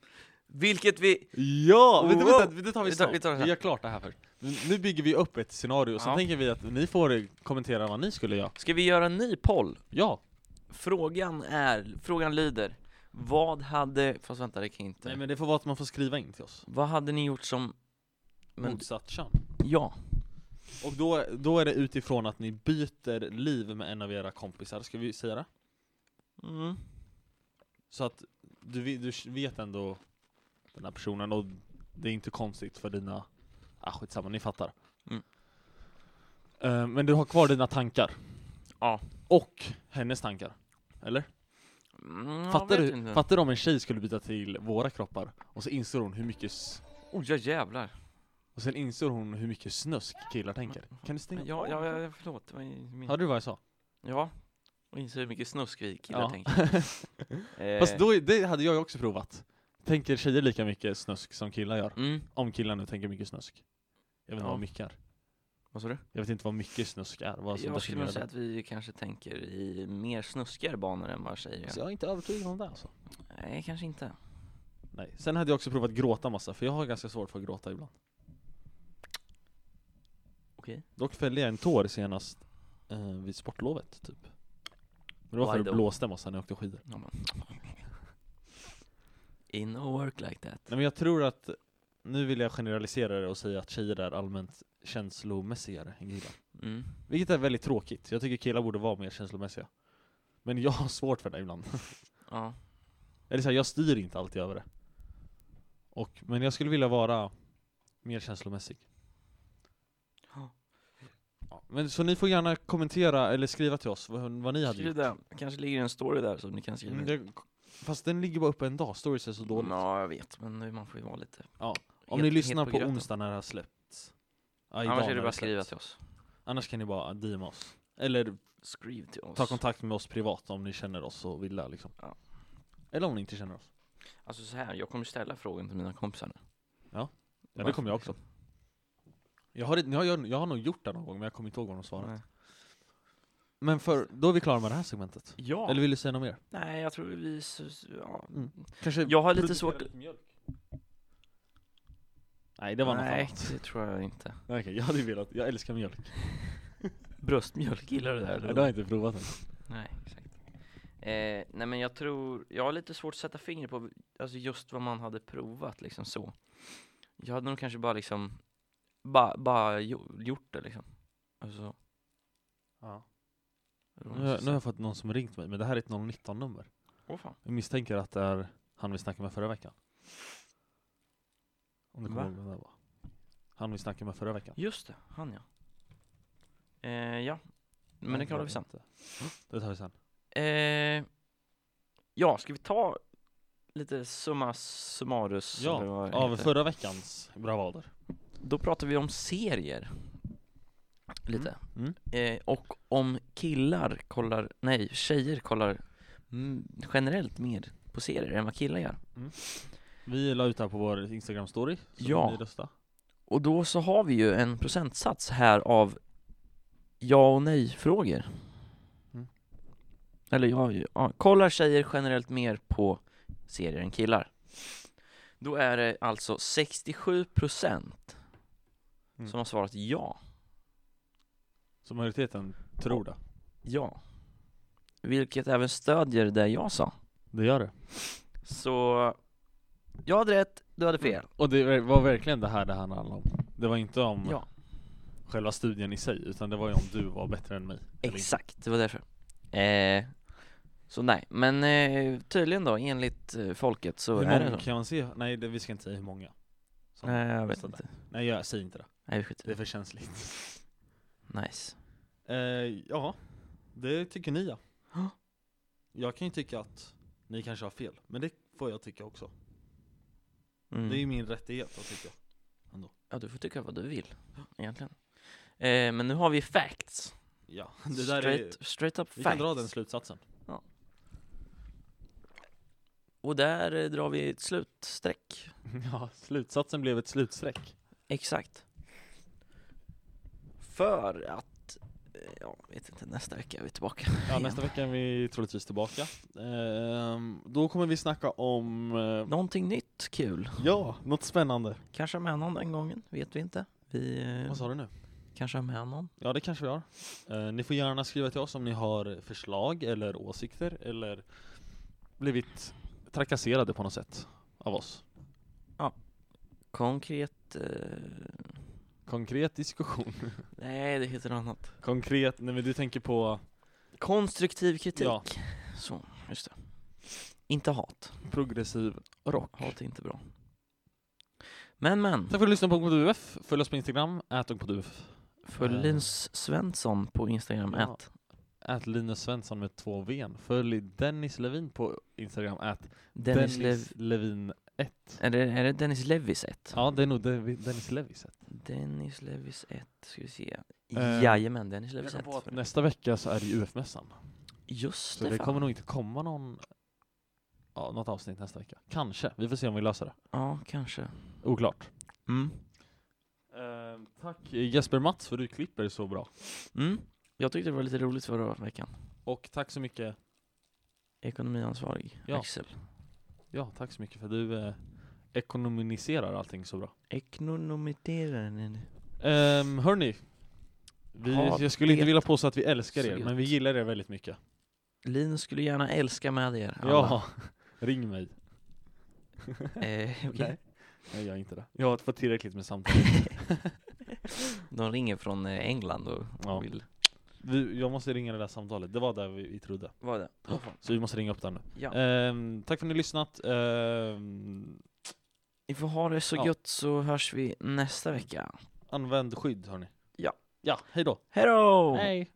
Vilket vi, Ja! Vänta, Wow. vänta, det tar vi Vi tar- snart. vi tar det Vi sen. gör klart det här först. Nu- Nu bygger vi upp ett scenario, sen Ja. tänker vi att ni får kommentera vad ni skulle göra. ska vi göra en ny poll? Ja! Frågan är, frågan lyder Vad hade, fast vänta det kan jag inte Nej men det får vara att man får skriva in till oss. Vad hade ni gjort som, men, Motsatt kön. ja Och då, då är det utifrån att ni byter liv med en av era kompisar, ska vi säga det? mm. Så att du, vi- du vet ändå den här personen och det är inte konstigt för dina... Ah skitsamma, ni fattar. Mm. Eh, men du har kvar dina tankar. Ja. Och hennes tankar. Eller? Mm, jag fattar, vet du, inte. fattar du om en tjej skulle byta till våra kroppar och så inser hon hur mycket... s- Oh ja jävlar. Och sen inser hon hur mycket snusk killar tänker. Kan du stänga Mm. Ja, ja, ja, ja, förlåt. Det var ju min... Hörde du vad jag sa? Ja. Och inser hur mycket snusk vi killar Ja. tänker. Eh, Fast då, är- det hade jag ju också provat. Tänker tjejer lika mycket snusk som killar gör? Mm, Om killar nu tänker mycket snusk. Jag vet inte Ja. vad mycket är. vad sa du? Jag vet inte vad mycket snusk är. Vad som jag skulle definierar nog det. säga att vi kanske tänker i mer snuskigare banor än vad tjejer Så gör. jag är inte övertygad om det alltså. Nej, kanske inte. Nej. Sen hade jag också provat gråta massa, för jag har ganska svårt för att gråta ibland. Okej. Dock fällde jag en tår senast eh, vid sportlovet, typ. Men det var Why för att det though? blåste massa när jag åkte skidor. Ja, men. In a work like that. Nej men jag tror att, nu vill jag generalisera det och säga att tjejer är allmänt känslomässigare än killar. Mm. Vilket är väldigt tråkigt, jag tycker killar borde vara mer känslomässiga. Men jag har svårt för det ibland. Ja. Eller så här, jag styr inte alltid över det. Och, men jag skulle vilja vara mer känslomässig. Ja. Ja, men så ni får gärna kommentera eller skriva till oss vad, vad ni hade Skriv gjort. det. Kanske ligger en story där som ni kan skriva. Mm, det, fast den ligger bara uppe en dag, stories är så dåligt. Ja, jag vet. Men nu, man får ju vara lite... Ja, Om het- ni het lyssnar på, gröten. onsdag när det har släppts. Ja, idag Annars när är det bara har att skriva släppts. till oss. Annars kan ni bara DMa oss. Eller Skriv till oss. ta kontakt med oss privat om ni känner oss och vill det, liksom. Ja. Eller om ni inte känner oss. Alltså så här, jag kommer ställa frågan till mina kompisar nu. Ja, det kommer jag också. Jag har, jag, jag, jag har nog gjort det någon gång men jag kommer inte ihåg vad de svarade. Nej. Men för, då är vi klara med det här segmentet. Ja. Eller vill du säga något mer? Nej, jag tror vi... s- s- Ja. Mm. Kanske Jag har lite producera svårt... mjölk? Nej, det var Nej, något annat. det tror jag inte. Nej, Okej, jag hade ju velat, jag älskar mjölk. Bröstmjölk, gillar du det? Nej, Eller? det har jag inte provat än. Nej, exakt. Eh, nej, men jag tror... Jag har lite svårt att sätta fingret på alltså just vad man hade provat, liksom så. Jag hade nog kanske bara liksom... Bara, bara jo- gjort det, liksom. Alltså, Nu, har jag- nu har jag fått någon som ringt mig, men det här är ett 019-nummer. Åh fan. Jag misstänker att det är han vi snackade med förra veckan. Om du kommer Va? ihåg vem det var. Han vi snackade med förra veckan. Just det, han ja. Eh, ja, men det Nej, kollar var vi sen. inte. Det tar vi sen. Eh, ja, ska vi ta lite summa summarus? eller Ja, vad det av heter? förra veckans bravader. Då pratar vi om serier. Lite. Mm, Eh, och om killar kollar, nej, tjejer kollar mm, generellt mer på serier än vad killar gör. Vi la ut det här på vår Instagram-story, så Ja. vill ni rösta. Och då så har vi ju en procentsats här av ja och nej-frågor. Mm. Eller ja, ju- ja, kollar tjejer generellt mer på serier än killar? Då är det alltså 67% Mm. som har svarat ja. Så majoriteten tror det. Ja. Vilket även stödjer det jag sa. Det gör det. Så jag hade rätt, du hade fel. Och det var verkligen det här det här handlade om. Det var inte om Mm. Ja. själva studien i sig, utan det var ju om du var bättre än mig. Eller Exakt, det var därför. Eh, så nej, men eh, tydligen då, enligt eh, folket så Hur är det många så. kan man se? Nej, det, vi ska inte säga hur många. som- Nej, jag vet Sådär. inte. Nej, jag säger inte det. Nej, vi skiter Det i är för känsligt. det. Nice. Eh, ja, det tycker ni ja. Ja. Jag kan ju tycka att ni kanske har fel, men det får jag tycka också. Mm. Det är ju min rättighet att tycka. Ja, du får tycka vad du vill, egentligen. Eh, men nu har vi facts. Ja, det där är... straight, straight up Vi facts. kan dra den slutsatsen. Och där eh, drar vi ett slutstreck. Ja, slutsatsen blev ett slutstreck. Exakt. För att, eh, ja, vet inte, nästa vecka är vi tillbaka. Ja, nästa vecka är vi troligtvis tillbaka. Ehm, då kommer vi snacka om, eh, Någonting nytt kul. ja, något spännande. Kanske har med någon den gången, vet vi inte. Vi eh, Vad sa du nu? kanske har med någon. Ja, det kanske vi har. Eh, ni får gärna skriva till oss om ni har förslag eller åsikter eller blivit trakasserade på något sätt av oss. Konkret, eh, Konkret diskussion. nej det heter något annat. Konkret, nej men du tänker på Konstruktiv kritik. Ja. Så, just det. Inte hat. progressiv rock. Hat är inte bra. Men men, Tack för att du lyssnade på Ung på UF. Följ oss på Instagram, ät Ung på UF. följ Eh. Linus Svensson på Instagram, Ja. att Ät Linus Svensson med två V'n. Följ Dennis Levin på Instagram, ät Dennis, Dennis, Lev... Levin 1. Är det, är det Dennis Levis 1? Ja, det är nog Devi- Dennis Levis ett. Dennis Levis 1, ska vi se. Eh, Jajamän, Dennis Levis 1. Nästa vecka så är det UF-mässan. Just Så det, det fan. kommer nog inte komma någon, ja, något avsnitt nästa vecka. Kanske. Vi får se om vi löser det. Ja, kanske. Oklart. Mm. tack eh, Jesper Mats för att du klipper så bra. Mm. Jag tyckte det var lite roligt förra veckan. Och tack så mycket, Ekonomiansvarig, Ja. Axel. ja tack så mycket för att du eh, ekonomiserar allting så bra. Ekonomiteraren. Um, hörni, vi, Ha jag skulle inte det vilja påstå att vi älskar så er, gött. men vi gillar er väldigt mycket. Linus skulle gärna älska med er alla. Ja, ring mig. Eh, okej. Nej. Nej, jag är inte det. Jag har fått tillräckligt med samtal. De ringer från eh, England och Ja. vill... Vi, jag måste ringa det där samtalet, det var där vi, vi trodde. Vad är det? Vad fan? Så vi måste ringa upp den nu. Ja. Ehm, tack för att ni har lyssnat. Ehm, Ni får ha det så ja. gött så hörs vi nästa vecka. använd skydd hörni. Ja. Ja, hej då. Hej då! Hej.